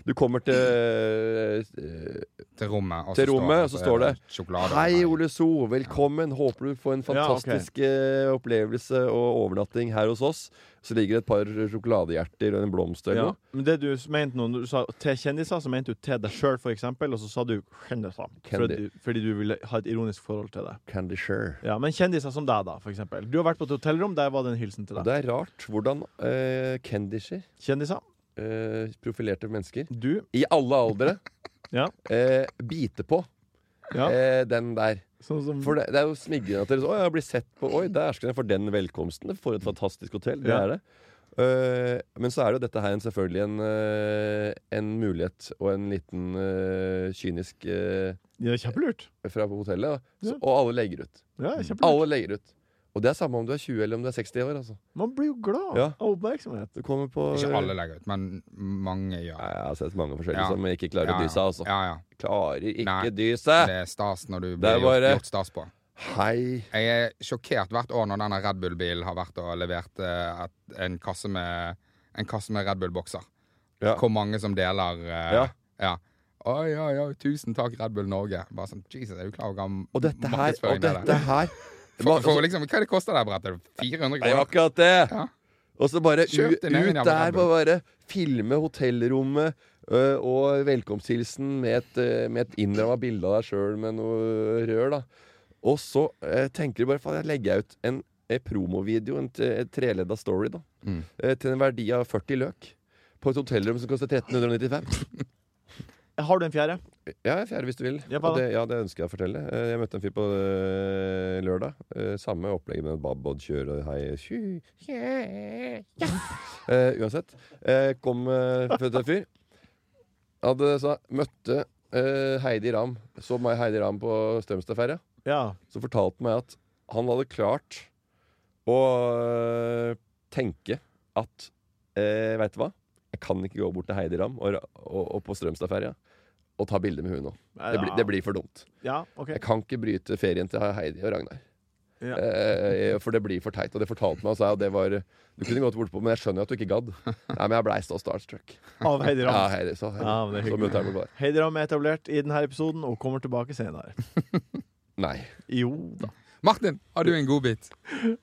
Speaker 3: Du kommer til eh,
Speaker 4: Til rommet, og
Speaker 3: Til rommet, og så står det,
Speaker 4: eh, sjokolade.
Speaker 3: Hei, Ole So. Velkommen. Håper du får en
Speaker 2: Ja, ok.
Speaker 3: fantastisk eh, opplevelse og overnatting her hos oss. Så ligger det et par sjokoladehjerter og en blomst eller
Speaker 2: Ja.
Speaker 3: noe.
Speaker 2: Men det du mente nå, når du sa til kjendiser, så mente du til deg sjøl, for eksempel, og så sa du kjendiser. Fordi,
Speaker 3: Candy.
Speaker 2: du- fordi du ville ha et ironisk forhold til det.
Speaker 3: Candisher.
Speaker 2: Ja, Men kjendiser som deg, da, for eksempel. Du har vært på et hotellrom, der var det en hilsen til
Speaker 3: Og
Speaker 2: deg.
Speaker 3: det er rart hvordan eh, kendisher,
Speaker 2: Kjendiser.
Speaker 3: eh, profilerte mennesker,
Speaker 2: Du.
Speaker 3: i alle aldre,
Speaker 2: Ja.
Speaker 3: eh, biter på
Speaker 2: ja.
Speaker 3: eh, den der.
Speaker 2: Sånn som
Speaker 3: For det, det er jo smigrende at dere så, «Å, jeg blir sett på Oi, der skal jeg for den velkomsten. For et fantastisk hotell. Det
Speaker 2: Ja.
Speaker 3: er det. Eh, men så er det jo dette her en, selvfølgelig en, eh, en mulighet og en liten eh, kynisk eh,
Speaker 2: Det er kjempelurt.
Speaker 3: fra på hotellet. Da. Så,
Speaker 2: Ja.
Speaker 3: Og alle legger ut.
Speaker 2: Ja, det er kjempelurt.
Speaker 3: Mm. Alle legger ut. Og det er samme om du er 20 eller om du er 60 år. Altså.
Speaker 2: Man blir jo glad
Speaker 3: Ja.
Speaker 2: av oppmerksomhet.
Speaker 3: Du kommer på
Speaker 4: Ikke alle legger ut, men mange gjør.
Speaker 3: Nei, altså, Jeg har sett mange forskjellige
Speaker 4: Ja.
Speaker 3: som ikke klarer å dy seg. Altså.
Speaker 4: Ja, ja.
Speaker 3: Klarer ikke
Speaker 4: Nei.
Speaker 3: dy seg!
Speaker 4: Det er stas når du
Speaker 3: Det
Speaker 4: blir
Speaker 3: er
Speaker 4: gjort,
Speaker 3: bare-
Speaker 4: gjort stas på.
Speaker 3: Hei!
Speaker 4: Jeg er sjokkert hvert år når denne Red Bull-bilen har vært og levert eh, et, en, kasse med, en kasse med Red Bull-bokser.
Speaker 3: Ja.
Speaker 4: Hvor mange som deler eh,
Speaker 3: Ja.
Speaker 4: ja. Oi, oi, oi, tusen takk, Red Bull Norge. Bare sånn, Jesus, er du klar over hva
Speaker 3: Og dette her,
Speaker 4: markedsføring
Speaker 3: og
Speaker 4: det er?
Speaker 3: dette her
Speaker 4: For, for liksom, hva er det koster der, brettet? 400
Speaker 3: Det er jo
Speaker 4: kroner?
Speaker 3: akkurat det!
Speaker 4: Ja.
Speaker 3: Og så bare u,
Speaker 4: Kjøp
Speaker 3: ut
Speaker 4: din egen jævla
Speaker 3: der,
Speaker 4: Red
Speaker 3: bare,
Speaker 4: Bull.
Speaker 3: bare filme hotellrommet ø, og velkomsthilsen med et, ø, med et innramma bilde av deg sjøl med noe rør, da. Og så ø, tenker du bare faen, jeg legger ut en, en promovideo, en, t- en treledda story, da.
Speaker 4: Mm.
Speaker 3: ø, til en verdi av 40 løk. På et hotellrom som koster 1395.
Speaker 2: Har du en fjerde?
Speaker 3: Ja, fjerde hvis du vil.
Speaker 2: Ja, hva
Speaker 3: og
Speaker 2: da?
Speaker 3: det, ja, det ønsker jeg å fortelle. Eh, Jeg møtte en fyr på eh, lørdag. Eh, samme opplegget med babod-kjør og hei tju, tje, ja. Eh, Uansett. Eh, kom uh, en fyr. Hadde sa Møtte eh, Heidi Ram. Så meg Heidi Ram på Strømstadferja.
Speaker 2: Ja.
Speaker 3: Så fortalte han meg at han hadde klart å øh, tenke at eh, Veit du hva? Jeg kan ikke gå bort til Heidi Ram og, ra- og, og på Strømstadferja og ta bilde med hun nå. Det, blir- det blir for dumt.
Speaker 2: Ja, ok.
Speaker 3: Jeg kan ikke bryte ferien til Heidi og Ragnar.
Speaker 2: Ja.
Speaker 3: Eh, for det blir for teit. Og det fortalte meg, og sa, og det var Du kunne gått bortpå, men jeg skjønner jo at du ikke gadd. Nei, men jeg blei så starstruck.
Speaker 2: Av Heidi
Speaker 3: Ja,
Speaker 2: Ram.
Speaker 3: Heidi, så, Heidi.
Speaker 2: Ja, men det er
Speaker 3: så
Speaker 2: hyggelig.
Speaker 3: møtte jeg meg bare.
Speaker 2: Heidi Ram er etablert i denne episoden og kommer tilbake senere.
Speaker 3: Nei.
Speaker 2: Jo da.
Speaker 4: Martin, har du en godbit?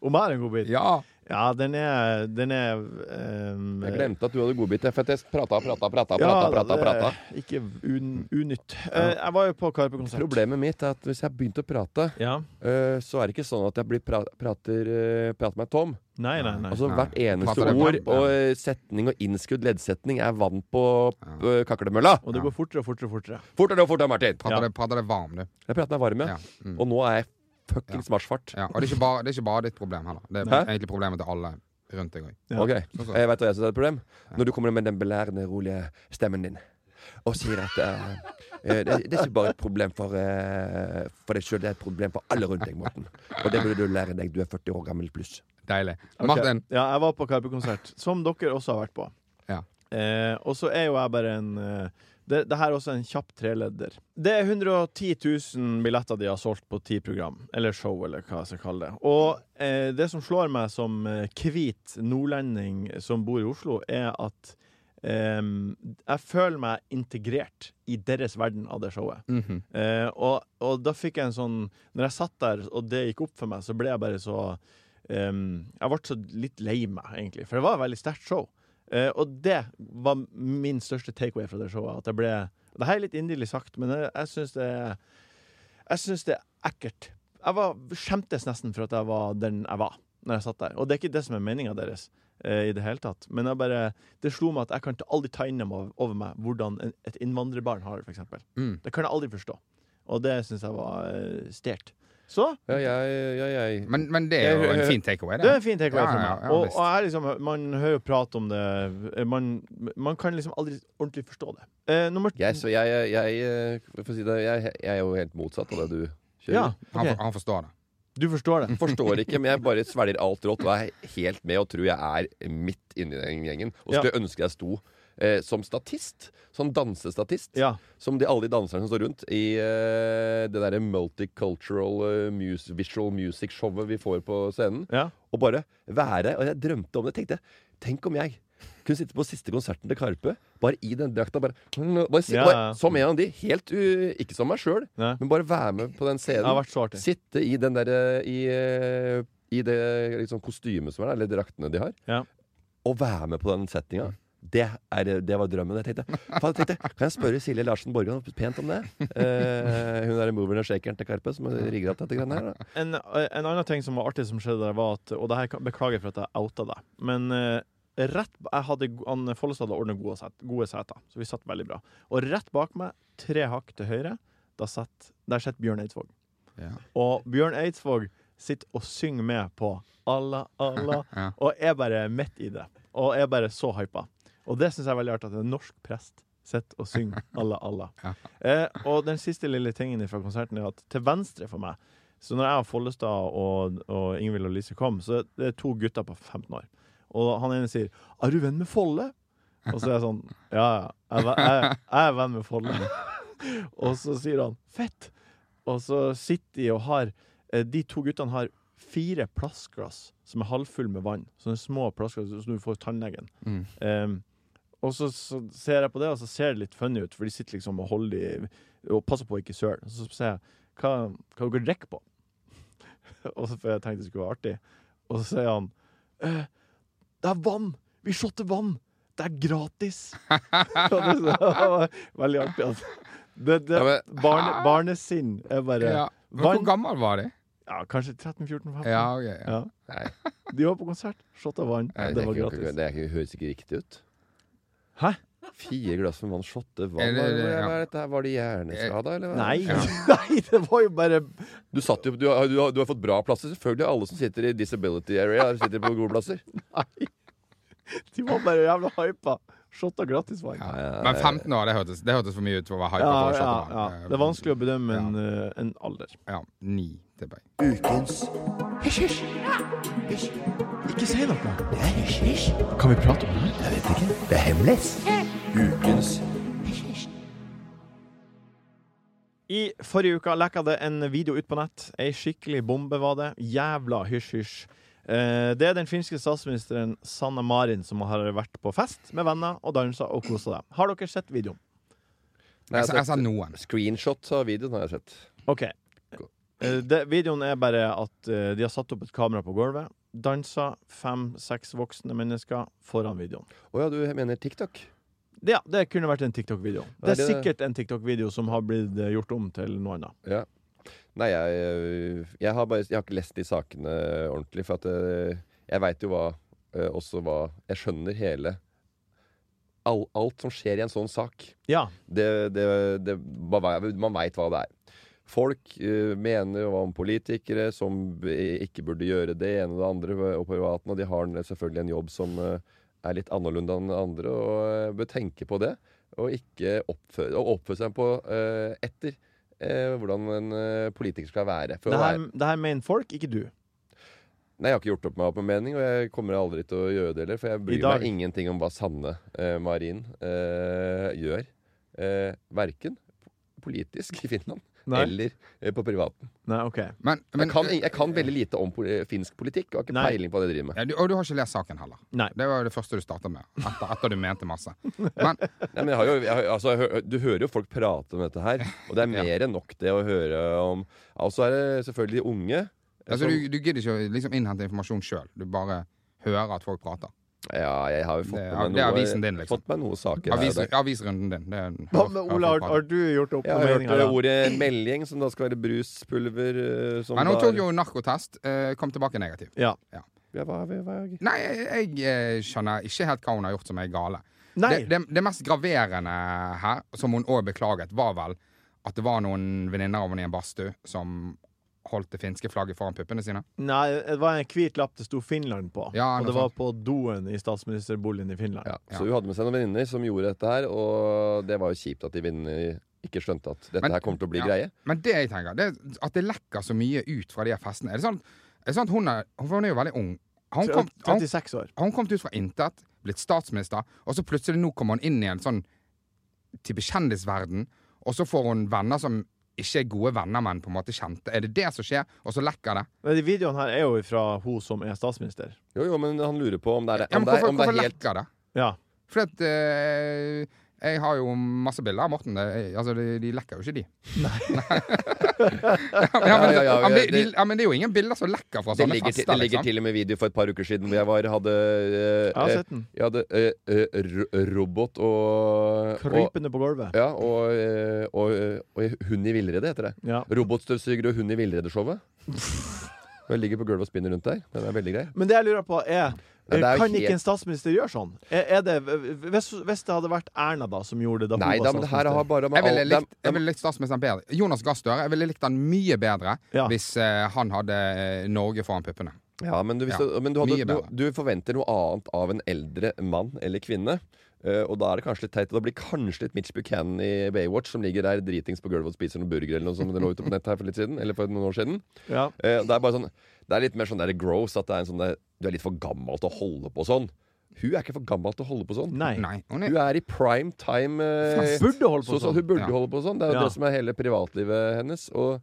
Speaker 2: Om jeg er en god bit?
Speaker 4: Ja.
Speaker 2: Ja, den er, den er ehm,
Speaker 3: Jeg glemte at du hadde godbit. For at jeg prata, prata, prata,
Speaker 2: Ja,
Speaker 3: prata, prata,
Speaker 2: det er
Speaker 3: prata.
Speaker 2: Ikke
Speaker 3: Mm.
Speaker 2: un, unytt. Eh, jeg var jo på Karpe-konsert.
Speaker 3: Problemet mitt er at hvis jeg har begynt å prate,
Speaker 2: Ja.
Speaker 3: eh, så er det ikke sånn at jeg blir pra prater, eh, prater meg tom.
Speaker 2: Nei, nei, nei.
Speaker 3: Altså
Speaker 4: Nei.
Speaker 3: Hvert eneste
Speaker 4: Prater deg varm,
Speaker 3: ord
Speaker 4: ja.
Speaker 3: og eh, setning og innskudd leddsetning er vann på eh, kaklemølla.
Speaker 2: Og det går fortere og fortere og fortere.
Speaker 3: Fortere og fortere, Martin!
Speaker 4: Prater,
Speaker 2: Ja.
Speaker 4: Det, prater det varm, du.
Speaker 3: Jeg prater meg varm, ja.
Speaker 4: Ja. Mm.
Speaker 3: Og nå er jeg fuckings marsjfart.
Speaker 4: ja. Og det er, ikke bare, det er ikke bare ditt problem heller. Det er
Speaker 3: Hæ?
Speaker 4: egentlig problemet til alle rundt deg òg.
Speaker 2: Ja.
Speaker 3: Ok,
Speaker 4: Sånn, sånn.
Speaker 3: Jeg vet hva jeg syns er et problem. Når du kommer med den belærende, rolige stemmen din og sier at eh, eh, det, det er ikke bare et problem for, eh, for deg sjøl, det er et problem for alle rundt deg, Morten. Og det burde du lære deg. Du er 40 år gammel pluss.
Speaker 4: Deilig.
Speaker 2: Ok.
Speaker 4: Martin,
Speaker 2: Ja, jeg var på Karpe-konsert, som dere også har vært på.
Speaker 4: Ja.
Speaker 2: Eh, og så er jo jeg bare en eh, det, det her er også en kjapp treledder. Det er 110 000 billetter de har solgt på ti program, eller show, eller hva jeg skal kalle det. Og eh, det som slår meg som eh, hvit nordlending som bor i Oslo, er at eh, jeg føler meg integrert i deres verden av det showet.
Speaker 4: Mhm.
Speaker 2: Eh, og, og da fikk jeg en sånn Når jeg satt der og det gikk opp for meg, så ble jeg bare så ehm, Jeg ble så litt lei meg, egentlig. For det var et veldig sterkt show. Eh, og det var min største takeaway fra det showet. At jeg ble Det her er litt inderlig sagt, men jeg, jeg syns det er- Jeg syns det er ekkelt. Jeg var, skjemtes nesten for at jeg var den jeg var, når jeg satt der. Og det er ikke det som er meninga deres. eh, I det hele tatt Men jeg bare, det slo meg at jeg kan ikke aldri ta inn over over meg hvordan en- et innvandrerbarn har det. For eksempel.
Speaker 4: Mm.
Speaker 2: Det kan jeg aldri forstå. Og det syns jeg var uh, stert. Så
Speaker 3: Ja, jeg, ja, jeg.
Speaker 4: men, men det er jo en fin takeaway,
Speaker 2: det er
Speaker 4: det.
Speaker 2: en fin takeaway
Speaker 4: Ja,
Speaker 2: for
Speaker 4: ja,
Speaker 2: meg.
Speaker 4: ja,
Speaker 2: og,
Speaker 4: visst.
Speaker 2: og jeg liksom, man hører jo prat om det. eh, Man, man kan liksom aldri ordentlig forstå det. Eh, nummer
Speaker 3: Jeg, så jeg, jeg, jeg, eh, for å si det, jeg, jeg er jo helt motsatt av det du kjører.
Speaker 2: Ja,
Speaker 4: Han,
Speaker 2: ok.
Speaker 4: han forstår det.
Speaker 2: Du forstår det.
Speaker 3: Forstår ikke, men jeg bare svelger alt rått og er helt med og tror jeg er midt inni den gjengen. Og
Speaker 2: Ja.
Speaker 3: skulle ønske jeg sto eh, som statist. Som dansestatist.
Speaker 2: Ja.
Speaker 3: Som de, alle de danserne som står rundt i eh, det derre multicultural eh, mus, visual music-showet vi får på scenen.
Speaker 2: ja.
Speaker 3: Og bare være Og jeg drømte om det. Tenkte Tenk om jeg kunne sitte på siste konserten til Karpe, bare i den drakta. Bare, bare, si-
Speaker 2: Ja, ja.
Speaker 3: bare Som en av de. Helt u, ikke som meg sjøl,
Speaker 2: Nei.
Speaker 3: men bare være med på den
Speaker 2: Det har
Speaker 3: scenen.
Speaker 2: vært så artig.
Speaker 3: Sitte i den derre i, eh, I det liksom, kostymet som er der, eller draktene de har.
Speaker 2: Ja.
Speaker 3: Og være med på den settinga. Det, er, eh, det var drømmen. Jeg tenkte, faen, jeg tenkte Kan jeg spørre Silje Larsen Borgan pent om det? Eh, hun er moveren og shakeren til Karpe, som har rigga til dette greiene her. da.
Speaker 2: En, en annen ting som var artig som skjedde der, var at Og det her kan- beklager for at jeg outa deg, men eh, rett Jeg hadde han Follestad hadde ordna gode, set, gode seter, så vi satt veldig bra. Og rett bak meg, tre hakk til høyre, da satt, der sitter Bjørn Eidsvåg.
Speaker 4: Ja.
Speaker 2: Og Bjørn Eidsvåg sitter og synger med på Allah, Allah,
Speaker 4: Ja.
Speaker 2: og er bare midt i det. og er bare så hypa. Og det syns jeg er veldig artig at en norsk prest sitter og synger Allah, Allah.
Speaker 4: Ja.
Speaker 2: Eh, og den siste lille tingen fra konserten er at til venstre for meg Så når jeg og Follestad og, og Ingvild og Lise kom, så det er to gutter på 15 år. Og han ene sier 'Er du venn med Folle?' Og så er jeg sånn Ja, ja. Jeg, er ve- jeg, jeg er venn med Folle. og så sier han 'Fett'. Og så sitter de og har eh, De to guttene har fire plastglass som er halvfulle med vann. Sånne små plastglass som du får i tannlegen.
Speaker 4: Mm.
Speaker 2: Em, og så, så ser jeg på det, og så ser det litt funny ut, for de sitter liksom og holder de Og passer på å ikke søle. Og Så sier jeg hva, hva dere drikker på? og så for jeg tenkte det skulle være artig. Og så sier han eh, det er vann! Vi shotter vann! Det er gratis! og det, så, det var veldig artig, altså. Det, det,
Speaker 3: Ja, men-
Speaker 2: barne, barnesinn er bare
Speaker 4: Ja. Men
Speaker 2: Vann-
Speaker 4: Hvor gammel var de?
Speaker 2: ja, kanskje 13-14-15.
Speaker 4: Ja, ok. Ja.
Speaker 2: Ja.
Speaker 3: Nei,
Speaker 2: De var på konsert, shot av vann.
Speaker 3: nei, det,
Speaker 2: det
Speaker 3: er
Speaker 2: var
Speaker 3: ikke-
Speaker 2: gratis.
Speaker 3: det er ikke- høres ikke riktig ut.
Speaker 2: Hæ?
Speaker 3: Fire glass med vann, shotte vann
Speaker 4: Er det-
Speaker 3: Hva er det-
Speaker 4: ja.
Speaker 3: hva er dette her? Var det hjerneskada, eller? hva?
Speaker 2: Nei.
Speaker 4: Ja.
Speaker 2: Nei, det var jo bare
Speaker 3: Du, satt jo, du, har, du, har, du har fått bra plasser. Selvfølgelig alle som sitter i disability area, sitter på gode plasser.
Speaker 2: Nei. De var bare jævla hypa. Shot av gratis vann. Ja,
Speaker 4: Men 15 år, det hørtes, det hørtes for mye ut for å være hypa
Speaker 2: ja,
Speaker 4: for å
Speaker 2: ja,
Speaker 4: shotte vann.
Speaker 2: Det er vanskelig å bedømme en, eh, en alder.
Speaker 4: Ja, ni, tipper jeg.
Speaker 2: Ikke si noe! Kan vi prate om det her? I forrige uke lekka det en video ut på nett. Ei skikkelig bombe var det. Jævla hysj-hysj. Eh, Det er den finske statsministeren Sanna Marin som har vært på fest med venner og dansa og kosa seg. Har dere sett videoen?
Speaker 3: Nei,
Speaker 4: Jeg,
Speaker 2: altså,
Speaker 4: sa- jeg sa
Speaker 3: sett
Speaker 4: noen.
Speaker 3: Screenshot av videoen har jeg sett.
Speaker 2: OK. Eh, Det, videoen er bare at eh, de har satt opp et kamera på gulvet. Dansa fem-seks voksne mennesker foran videoen.
Speaker 3: Å ja, du mener TikTok?
Speaker 2: Det- Ja, det kunne vært en TikTok-video. Det
Speaker 3: Ja,
Speaker 2: er
Speaker 3: det-
Speaker 2: sikkert en TikTok-video som har blitt eh, gjort om til noe annet.
Speaker 3: Ja. Nei, jeg, øh, jeg, har bare, jeg har ikke lest de sakene ordentlig, for at eh, jeg veit jo hva eh, Også hva Jeg skjønner hele all, Alt som skjer i en sånn sak.
Speaker 2: Ja.
Speaker 3: Det, det, det, man vei- man veit hva det er. Folk eh, mener jo om politikere som b- ikke burde gjøre det ene og det andre og privaten, og de har en- selvfølgelig en jobb som eh, er litt annerledes enn andre, og eh, bør tenke på det. Og ikke oppføre, og oppføre seg på eh, etter eh, hvordan en eh, politiker skal være. For
Speaker 2: Det
Speaker 3: å
Speaker 2: her,
Speaker 3: være.
Speaker 2: det her mener folk, ikke du.
Speaker 3: Nei, Jeg har ikke gjort opp meg opp en mening, og jeg kommer aldri til å gjøre det heller. For jeg
Speaker 2: I
Speaker 3: bryr
Speaker 2: dag.
Speaker 3: meg ingenting om hva Sanne eh, Marin eh, gjør. Eh, verken politisk i Finland
Speaker 2: Nei.
Speaker 3: eller eh, på privaten.
Speaker 2: Nei, OK.
Speaker 4: Men, men eh,
Speaker 3: jeg, kan, jeg kan veldig lite om poli finsk politikk, og har ikke
Speaker 2: Nei.
Speaker 3: peiling på hva de driver med.
Speaker 4: ja, du, Og du har ikke lest saken heller.
Speaker 2: Nei.
Speaker 4: Det var jo det første du starta med. Etter, etter du mente masse. Men
Speaker 3: Nei, men jeg har jo, jeg, har- altså, jeg, hø- du hører jo folk prate om dette her, og det er
Speaker 4: Ja.
Speaker 3: mer enn nok det å høre om. Og så er det selvfølgelig de unge. eh,
Speaker 4: altså,
Speaker 3: som-
Speaker 4: du, du gidder ikke å liksom, innhente informasjon sjøl. Du bare hører at folk prater.
Speaker 3: ja, jeg har jo fått
Speaker 4: Det er-
Speaker 3: med meg
Speaker 4: det er
Speaker 3: noe,
Speaker 4: avisen din, liksom.
Speaker 3: fått meg noen saker. her og
Speaker 4: Avis,
Speaker 3: der.
Speaker 4: avisrunden din. Det er,
Speaker 2: Hva med Ola, har, har du gjort opp
Speaker 3: Jeg
Speaker 2: noen
Speaker 3: har hørt
Speaker 2: meninger?
Speaker 3: eh,
Speaker 2: da?
Speaker 3: ordet melding, som da skal være bruspulver eh, som
Speaker 4: Men hun
Speaker 3: da er-
Speaker 4: tok jo narkotest. eh, kom tilbake negativ.
Speaker 2: Ja.
Speaker 3: ja, hva, hva, hva?
Speaker 4: Nei, jeg, jeg eh, skjønner ikke helt hva hun har gjort som er gale.
Speaker 2: Nei.
Speaker 4: Det, det, det mest graverende her, som hun òg beklaget, var vel at det var noen venninner av henne i en badstue som holdt det finske flagget foran puppene sine.
Speaker 2: Nei, det var en hvit lapp det sto Finland på.
Speaker 4: Ja,
Speaker 2: og
Speaker 4: noe
Speaker 2: det var på doen i statsministerboligen i Finland.
Speaker 3: Ja. Så hun hadde med seg noen venninner som gjorde dette her, og det var jo kjipt at de venninnene ikke skjønte at dette
Speaker 4: Men-
Speaker 3: her kommer til å bli
Speaker 4: ja.
Speaker 3: greie.
Speaker 4: Men det jeg tenker, det er at det lekker så mye ut fra de her festene Er det sånn, er det sånn at hun er, for hun er jo veldig ung. Har hun, kom, har, hun,
Speaker 2: 36 år.
Speaker 4: har hun kommet ut fra intet, blitt statsminister, og så plutselig nå kommer hun inn i en sånn type kjendisverden, og så får hun venner som ikke er gode venner, men på en måte kjente. Er det det som skjer? Og så lekker det?
Speaker 2: Men de videoene her er jo fra hun som er statsminister.
Speaker 3: Jo, jo, men han lurer på om det er,
Speaker 4: Ja,
Speaker 3: om
Speaker 4: men
Speaker 3: det er,
Speaker 4: hvorfor,
Speaker 3: om det
Speaker 4: hvorfor
Speaker 3: er helt
Speaker 4: lekker det?
Speaker 2: Ja.
Speaker 4: Fordi at eh, jeg har jo masse bilder av Morten. Det, altså, de, de lekker jo ikke, de. Nei. ja, men,
Speaker 3: Ja, ja, ja,
Speaker 4: ja, men
Speaker 3: det-
Speaker 4: det, de, ja, men det er jo ingen bilder som lekker fra
Speaker 3: det
Speaker 4: sånne
Speaker 3: ligger, til,
Speaker 4: fester.
Speaker 3: det ligger
Speaker 4: liksom.
Speaker 3: til og med video for et par uker siden hvor jeg var, hadde, eh,
Speaker 2: Jeg har
Speaker 3: eh,
Speaker 2: sett den.
Speaker 3: jeg hadde eh, eh, ro- robot eh, og, og
Speaker 2: Krypende på gulvet.
Speaker 3: ja, og, eh, og, eh, og Hund i villrede, heter det.
Speaker 2: Ja.
Speaker 3: Robotstøvsuger og Hund i villrede-showet. Den ligger på gulvet og spinner rundt der. Den er veldig grei.
Speaker 2: Men det jeg lurer på, er
Speaker 3: det er jo
Speaker 2: Kan
Speaker 3: helt-
Speaker 2: ikke en statsminister gjøre sånn? Er, er det, hvis, hvis det hadde vært Erna da som gjorde det da hun
Speaker 3: Nei da,
Speaker 2: var
Speaker 3: men det her har
Speaker 2: statsminister?
Speaker 3: bare med
Speaker 4: Jeg ville
Speaker 3: all-
Speaker 4: likt,
Speaker 3: dem-
Speaker 4: jeg ville likt statsministeren bedre. Jonas Gahr Støre. Jeg ville likt han mye bedre
Speaker 2: Ja.
Speaker 4: hvis eh, han hadde eh, Norge foran puppene.
Speaker 3: Ja, men du, hvis
Speaker 4: Ja,
Speaker 3: du, men du, hadde,
Speaker 4: mye
Speaker 3: du,
Speaker 4: bedre.
Speaker 3: du forventer noe annet av en eldre mann eller kvinne. eh, og da er det kanskje litt teit. Og da blir kanskje litt Mitch Buchanan i Baywatch, som ligger der dritings på gulvet og spiser noen burger eller noe sånt. Det lå ute på nettet her for litt siden. Eller for noen år siden.
Speaker 2: Ja.
Speaker 3: Eh, det er bare sånn Det er litt mer sånn der gross at det er en sånn der, du er litt for gammel til å holde på sånn. Hun er ikke for gammel til å holde på sånn.
Speaker 2: Nei.
Speaker 4: Nei. Hun
Speaker 3: Hun
Speaker 4: er,
Speaker 3: er i prime time. eh,
Speaker 2: Hun burde holde
Speaker 3: så,
Speaker 2: på
Speaker 3: så
Speaker 2: sånn.
Speaker 3: hun burde
Speaker 4: Ja.
Speaker 3: holde på sånn. Det er jo
Speaker 2: Ja.
Speaker 3: det som er hele privatlivet hennes. Og,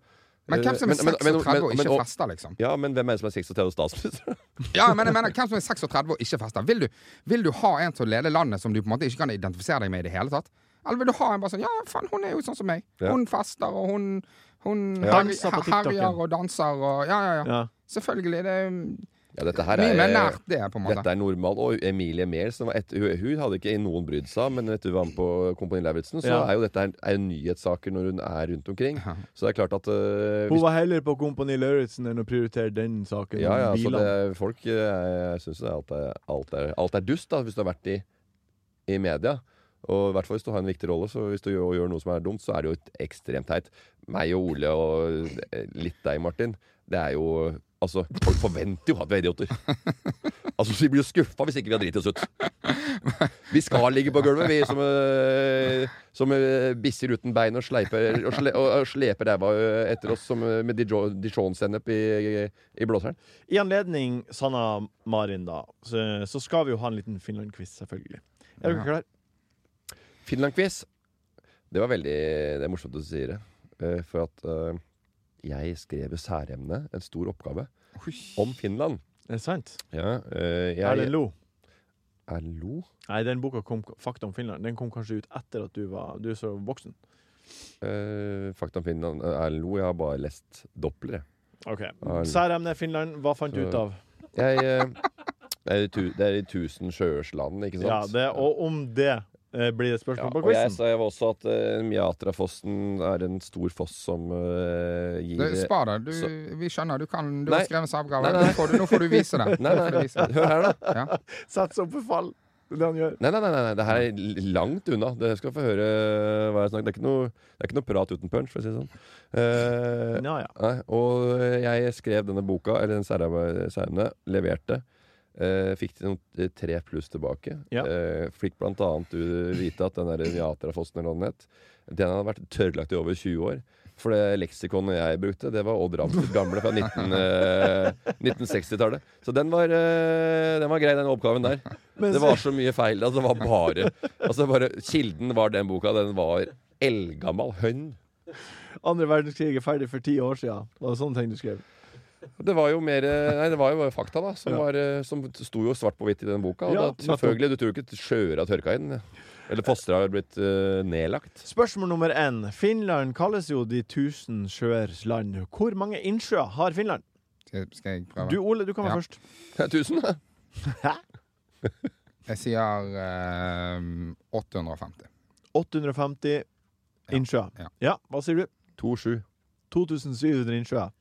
Speaker 4: men hvem som
Speaker 3: Eh, Men-
Speaker 4: er
Speaker 3: men- men-
Speaker 4: 36 og
Speaker 3: men-
Speaker 4: ikke
Speaker 3: og-
Speaker 4: fester, liksom?
Speaker 3: ja, men hvem er det som er 36 og statsminister?
Speaker 4: Ja, men jeg mener, hvem som er 36 og ikke fester? Vil du, vil du ha en som leder landet som du på en måte ikke kan identifisere deg med i det hele tatt? Eller vil du ha en bare sånn Ja, faen, hun er jo sånn som meg.
Speaker 3: Ja.
Speaker 4: Hun fester, og hun, hun
Speaker 3: Ja.
Speaker 4: herj-
Speaker 2: Danser på
Speaker 4: herjer
Speaker 2: TikToken.
Speaker 4: og danser og Ja, ja, ja.
Speaker 2: Ja.
Speaker 4: Selvfølgelig. Det er
Speaker 3: Ja, dette her
Speaker 4: mye
Speaker 3: er
Speaker 4: mer nært det, på en måte.
Speaker 3: Dette er normal. Og Emilie Mehl, som var et, hun, hun hadde ikke noen brydd seg, om, men etter hun var med på Kompani Lauritzen, så
Speaker 2: Ja.
Speaker 3: er jo dette her, er jo nyhetssaker når hun er rundt omkring.
Speaker 4: Ja.
Speaker 3: Så det er klart at øh,
Speaker 2: Hun
Speaker 3: hvis,
Speaker 2: var heller på Kompani Lauritzen enn å prioritere den saken.
Speaker 3: Ja, ja,
Speaker 2: om
Speaker 3: så
Speaker 2: bilene.
Speaker 3: det, folk øh, syns jo det er alt, er, alt, er, alt er dust, da, hvis du har vært i, i media. Og i hvert fall hvis du har en viktig rolle, så hvis du gjør, gjør noe som er dumt, så er det jo et ekstremt teit. Meg og Ole og eh, litt deg, Martin, det er jo Altså, folk forventer jo at vi er idioter. Altså, Vi blir jo skuffa hvis ikke vi har driti oss ut. Vi skal ligge på gulvet, vi som, eh, som eh, bisser uten bein og sleiper og, sle, og, og sleper ræva eh, etter oss som, eh, med dijo- dijon-sennep i, i, i blåseren.
Speaker 2: I anledning Sanna Marin, da, så, så skal vi jo ha en liten Finland-quiz, selvfølgelig. Er dere
Speaker 4: Ja.
Speaker 2: klare?
Speaker 3: Finland-quiz. Det var veldig Det er morsomt at du sier det. eh, For at eh, jeg skrev jo særemne, en stor oppgave, om Finland.
Speaker 2: Er det sant?
Speaker 3: Ja, eh, jeg,
Speaker 2: Erlend Lo?
Speaker 3: Erlend Lo?
Speaker 2: Nei, den boka kom Fakta om Finland. Den kom kanskje ut etter at du var Du er så voksen.
Speaker 3: Eh, Fakta om Finland. Eh, Erlend Lo, jeg har bare lest Doppler, jeg.
Speaker 2: OK.
Speaker 3: Erlend.
Speaker 2: Særemne Finland, hva fant du ut av?
Speaker 3: Jeg, eh, det, er i tu, det er i tusen sjøers land, ikke sant?
Speaker 2: Ja, det, og om det eh, blir det et
Speaker 3: Ja,
Speaker 2: spørsmål på
Speaker 3: og jeg
Speaker 2: quizen.
Speaker 3: sa jo også at uh, Mjatrafossen er en stor foss som eh, gir
Speaker 4: Du, Spar det. Du,
Speaker 3: Så-
Speaker 4: vi skjønner. Du, kan, du
Speaker 3: Nei.
Speaker 4: har skrevet en oppgave.
Speaker 3: Nei, nei.
Speaker 4: Nå, får du- nå får du vise det.
Speaker 3: Nei,
Speaker 4: Nå får du
Speaker 3: nei,
Speaker 4: vise det.
Speaker 3: Hør her, da.
Speaker 4: Ja.
Speaker 2: Sats opp for fall. Det er det han gjør.
Speaker 3: Nei, nei, nei, nei, det her er l- langt unna. Dere skal få høre eh, hva jeg snakker Det er ikke noe, det er ikke noe prat uten punch, for å si det sånn. Eh,
Speaker 2: Ja, ja.
Speaker 3: nei, og eh, jeg skrev denne boka, eller den sære- særemne, leverte. eh, fikk noen eh, tre pluss tilbake.
Speaker 2: Ja.
Speaker 3: Eh, fikk blant annet u- vite at den der Viatrafossen eller noe nett, den hadde vært tørrlagt i over 20 år. For det leksikonet jeg brukte, det var Odd Ramsens gamle fra 19, eh, 1960-tallet. Så den var, eh, den var grei, den oppgaven der.
Speaker 2: Men
Speaker 3: Det
Speaker 2: så-
Speaker 3: var så mye feil. Altså, det var bare, altså, bare Kilden var den boka. Den var eldgammel hønn.
Speaker 2: Andre verdenskrig er ferdig for ti år siden. Det var sånne ting du skrev.
Speaker 3: Det var jo mer eh, Nei, det var jo bare fakta, da. Som,
Speaker 2: Ja.
Speaker 3: var, eh, som sto jo svart på hvitt i den boka. Og
Speaker 2: Ja,
Speaker 3: da, selvfølgelig, du tror jo ikke sjøer har tørka inn. Eller fostre har blitt eh, nedlagt.
Speaker 2: Spørsmål nummer én. Finland kalles jo de tusen sjøers land. Hvor mange innsjøer har Finland?
Speaker 4: Skal- Skal jeg prøve?
Speaker 2: Du, Ole, du kan være
Speaker 4: Ja.
Speaker 2: først.
Speaker 3: Tusen, da.
Speaker 4: Jeg sier ehm, 850.
Speaker 2: 850 innsjøer.
Speaker 4: Ja.
Speaker 2: Ja. hva sier du?
Speaker 3: 2-7.
Speaker 2: 2700 innsjøer.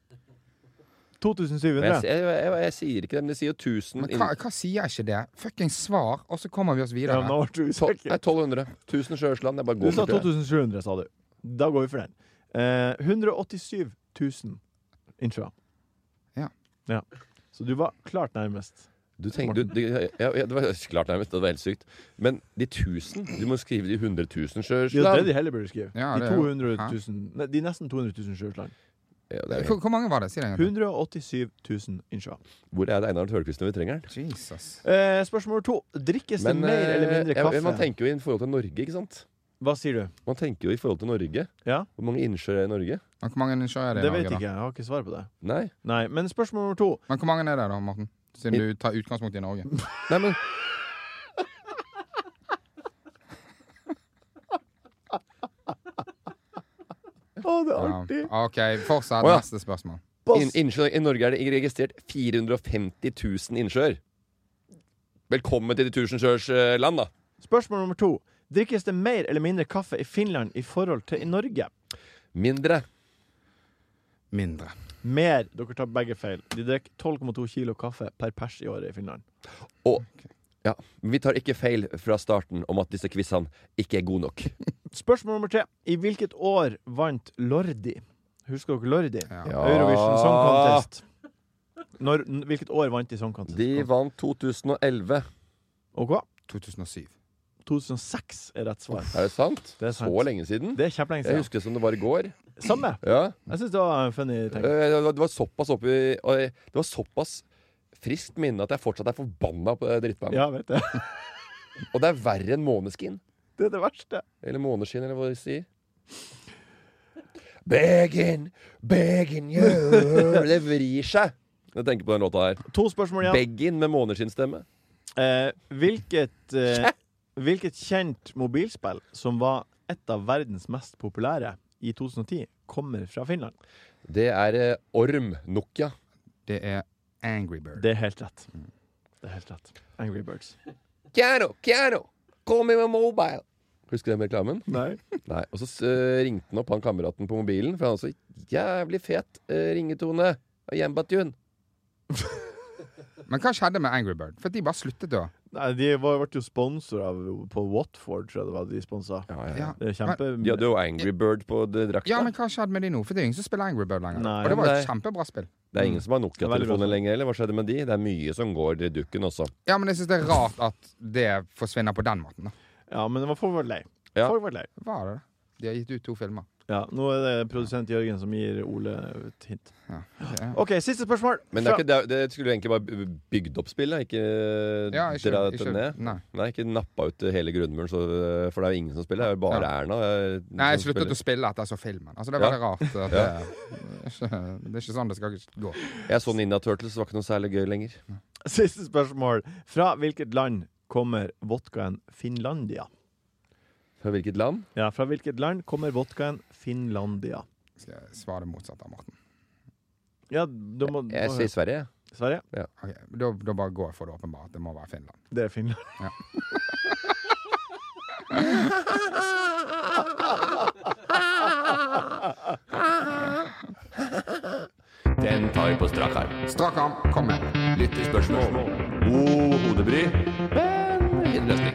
Speaker 2: 2700?
Speaker 3: Men jeg, jeg, jeg, jeg sier ikke det, men de sier jo 1000
Speaker 4: Men hva, hva sier jeg ikke det? Fuckings svar, og så kommer vi oss
Speaker 2: ja,
Speaker 4: videre.
Speaker 2: nå ble du
Speaker 3: Tol- Nei,
Speaker 2: usikker.
Speaker 3: 1200. 1000 sjøørsland. Jeg bare
Speaker 2: Du
Speaker 3: går
Speaker 2: sa
Speaker 3: for det.
Speaker 2: 2700, sa du. Da går vi for den. Eh, 187 000 innsjøer.
Speaker 4: Ja.
Speaker 2: Ja. Så du var klart nærmest.
Speaker 3: Du tenker, du, du, ja, ja, det var klart nærmest. Det var helt sykt. Men de 1000 Du må skrive de 100 000
Speaker 2: Det er jo det
Speaker 3: sjøørsland.
Speaker 2: de heller burde skrive.
Speaker 4: Ja,
Speaker 2: de,
Speaker 4: det er jo-
Speaker 2: 200
Speaker 4: Hæ?
Speaker 2: 000, nei, de nesten 200 000 sjøers land.
Speaker 3: Ja, det er jo
Speaker 4: Hvor, hvor mange var det? Si det en gang.
Speaker 2: 187 000 innsjøer.
Speaker 3: Hvor er det Einar Tørkvist når vi trenger den?
Speaker 4: til. Jesus.
Speaker 2: Eh, spørsmål to. Drikkes det mer eller mindre
Speaker 3: eh,
Speaker 2: kaffe?
Speaker 3: man tenker jo i forhold til Norge, ikke sant?
Speaker 2: Hva sier du?
Speaker 3: Man tenker jo i forhold til Norge.
Speaker 2: Ja.
Speaker 3: Hvor mange innsjøer er i Norge?
Speaker 4: Men hvor mange innsjøer er det i
Speaker 2: Det vet
Speaker 4: Norge,
Speaker 2: ikke jeg. Jeg har ikke svar på det.
Speaker 3: Nei.
Speaker 2: Nei, Men spørsmål nummer to.
Speaker 4: da? Men hvor mange er det da, Morten? Siden du tar utgangspunkt i Norge.
Speaker 3: Nei, men
Speaker 2: Å, det er
Speaker 4: Ja. Ah,
Speaker 2: artig!
Speaker 4: OK, fortsett.
Speaker 3: Å, ja.
Speaker 4: Neste spørsmål.
Speaker 2: Pass.
Speaker 3: inn, innsjøer, I Norge er det registrert 450 000 innsjøer. Velkommen til de tusensjøersland, da.
Speaker 2: Spørsmål nummer to. Drikkes det mer eller mindre kaffe i Finland i forhold til i Norge?
Speaker 3: Mindre.
Speaker 4: Mindre.
Speaker 2: Mer. Dere tar begge feil. De drikker 12,2 kilo kaffe per pers i året i Finland.
Speaker 3: Og ja, vi tar ikke feil fra starten om at disse quizene ikke er gode nok.
Speaker 2: Spørsmål nummer tre. I hvilket år vant Lordi? Husker dere Lordi?
Speaker 4: Ja.
Speaker 3: Ja.
Speaker 2: Eurovision Song Contest. Når, n- hvilket år vant de Songcontest?
Speaker 3: De vant 2011.
Speaker 2: OK.
Speaker 4: 2007.
Speaker 2: 2006 er rett svar.
Speaker 3: Er det sant?
Speaker 2: Det er sant.
Speaker 3: Så lenge siden?
Speaker 2: Det er kjempelenge
Speaker 3: Jeg
Speaker 2: siden.
Speaker 3: husker det som det var i går.
Speaker 2: Samme.
Speaker 3: Ja.
Speaker 2: Jeg syns det var en funny ting.
Speaker 3: Eh, Det var- det var såpass oppi og jeg- Det var såpass friskt minne at jeg fortsatt er forbanna på det drittbandet.
Speaker 2: Ja, vet du.
Speaker 3: Og det er verre enn måneskin.
Speaker 2: Det er det verste.
Speaker 3: Eller måneskinn, eller hva de sier. Begging, begging you Det vrir seg når jeg tenker på den låta her.
Speaker 2: To spørsmål igjen.
Speaker 3: Begging med måneskinnstemme.
Speaker 2: Eh, hvilket, eh, hvilket kjent mobilspill som var et av verdens mest populære i 2010, kommer fra Finland?
Speaker 3: Det er eh, Orm Nokia.
Speaker 4: Det er Angry Bird.
Speaker 2: Det er helt rett. Mm. Det er helt rett. Angry Birds.
Speaker 3: Kiano, Kiano, call me with mobile. Husker du den reklamen?
Speaker 2: Nei.
Speaker 3: Nei, Og så eh, ringte han opp han kameraten på mobilen, for han hadde så jævlig fet eh, ringetone. Og hjemmetune.
Speaker 4: Men hva skjedde med Angry Bird? For de bare sluttet å
Speaker 2: Nei, de var, ble jo sponsor av på Watford, tror jeg det var de sponsa.
Speaker 3: Eh.
Speaker 4: ja.
Speaker 2: Det er kjempe...
Speaker 3: De hadde jo Angry Bird på d- drakta.
Speaker 4: ja, men hva skjedde med de nå? For det er ingen som spiller Angry Bird lenger.
Speaker 2: Nei,
Speaker 4: og det var
Speaker 3: men
Speaker 4: et kjempebra spill.
Speaker 3: Det er ingen som har
Speaker 2: Veldig bra.
Speaker 3: Nokia-telefoner lenger, eller hva skjedde med de? Det er mye som går i dukken også.
Speaker 4: Ja, men jeg syns det er rart at det forsvinner på den måten. da
Speaker 2: Ja, men det var folk ble lei.
Speaker 3: Ja.
Speaker 2: Folk ble lei.
Speaker 4: Hva er det? da? De har gitt ut to filmer.
Speaker 2: Ja, nå er det produsent Jørgen som gir Ole et hint.
Speaker 4: Ja. Ja.
Speaker 2: OK, siste spørsmål.
Speaker 3: Men det, er ikke, det, er- det skulle jo egentlig bare b- bygd opp spillet, ikke
Speaker 4: Ja, ikke-
Speaker 3: dra dette
Speaker 4: ikke-
Speaker 3: ned.
Speaker 4: Nei.
Speaker 3: Nei, ikke nappa ut hele grunnmuren, så, for det er jo ingen som spiller. Det er jo bare
Speaker 4: Ja.
Speaker 3: Erna. eh,
Speaker 4: Nei, jeg
Speaker 3: som
Speaker 4: sluttet å
Speaker 3: spiller.
Speaker 4: spille etter jeg så filmen. Altså, det er
Speaker 3: Ja.
Speaker 4: veldig rart. At det, det, er ikke, det er ikke sånn det skal gå.
Speaker 3: Jeg så Ninja Turtles, det var ikke noe særlig gøy lenger.
Speaker 2: Siste spørsmål. Fra hvilket land kommer vodkaen Finlandia?
Speaker 3: Fra hvilket land?
Speaker 2: Ja, fra hvilket land kommer vodkaen Finlandia?
Speaker 4: Skal jeg svare det motsatte av Morten?
Speaker 2: Ja, du må,
Speaker 3: Jeg
Speaker 2: må
Speaker 3: sier Sverige.
Speaker 2: Sverige?
Speaker 4: Ok, da, da bare går jeg for det åpenbare. at Det må være Finland.
Speaker 2: Det er Finland.
Speaker 6: Den tar vi på strak arm.
Speaker 4: Strak arm, kom med.
Speaker 6: Lyttespørsmål. God hodebry, men innløsning.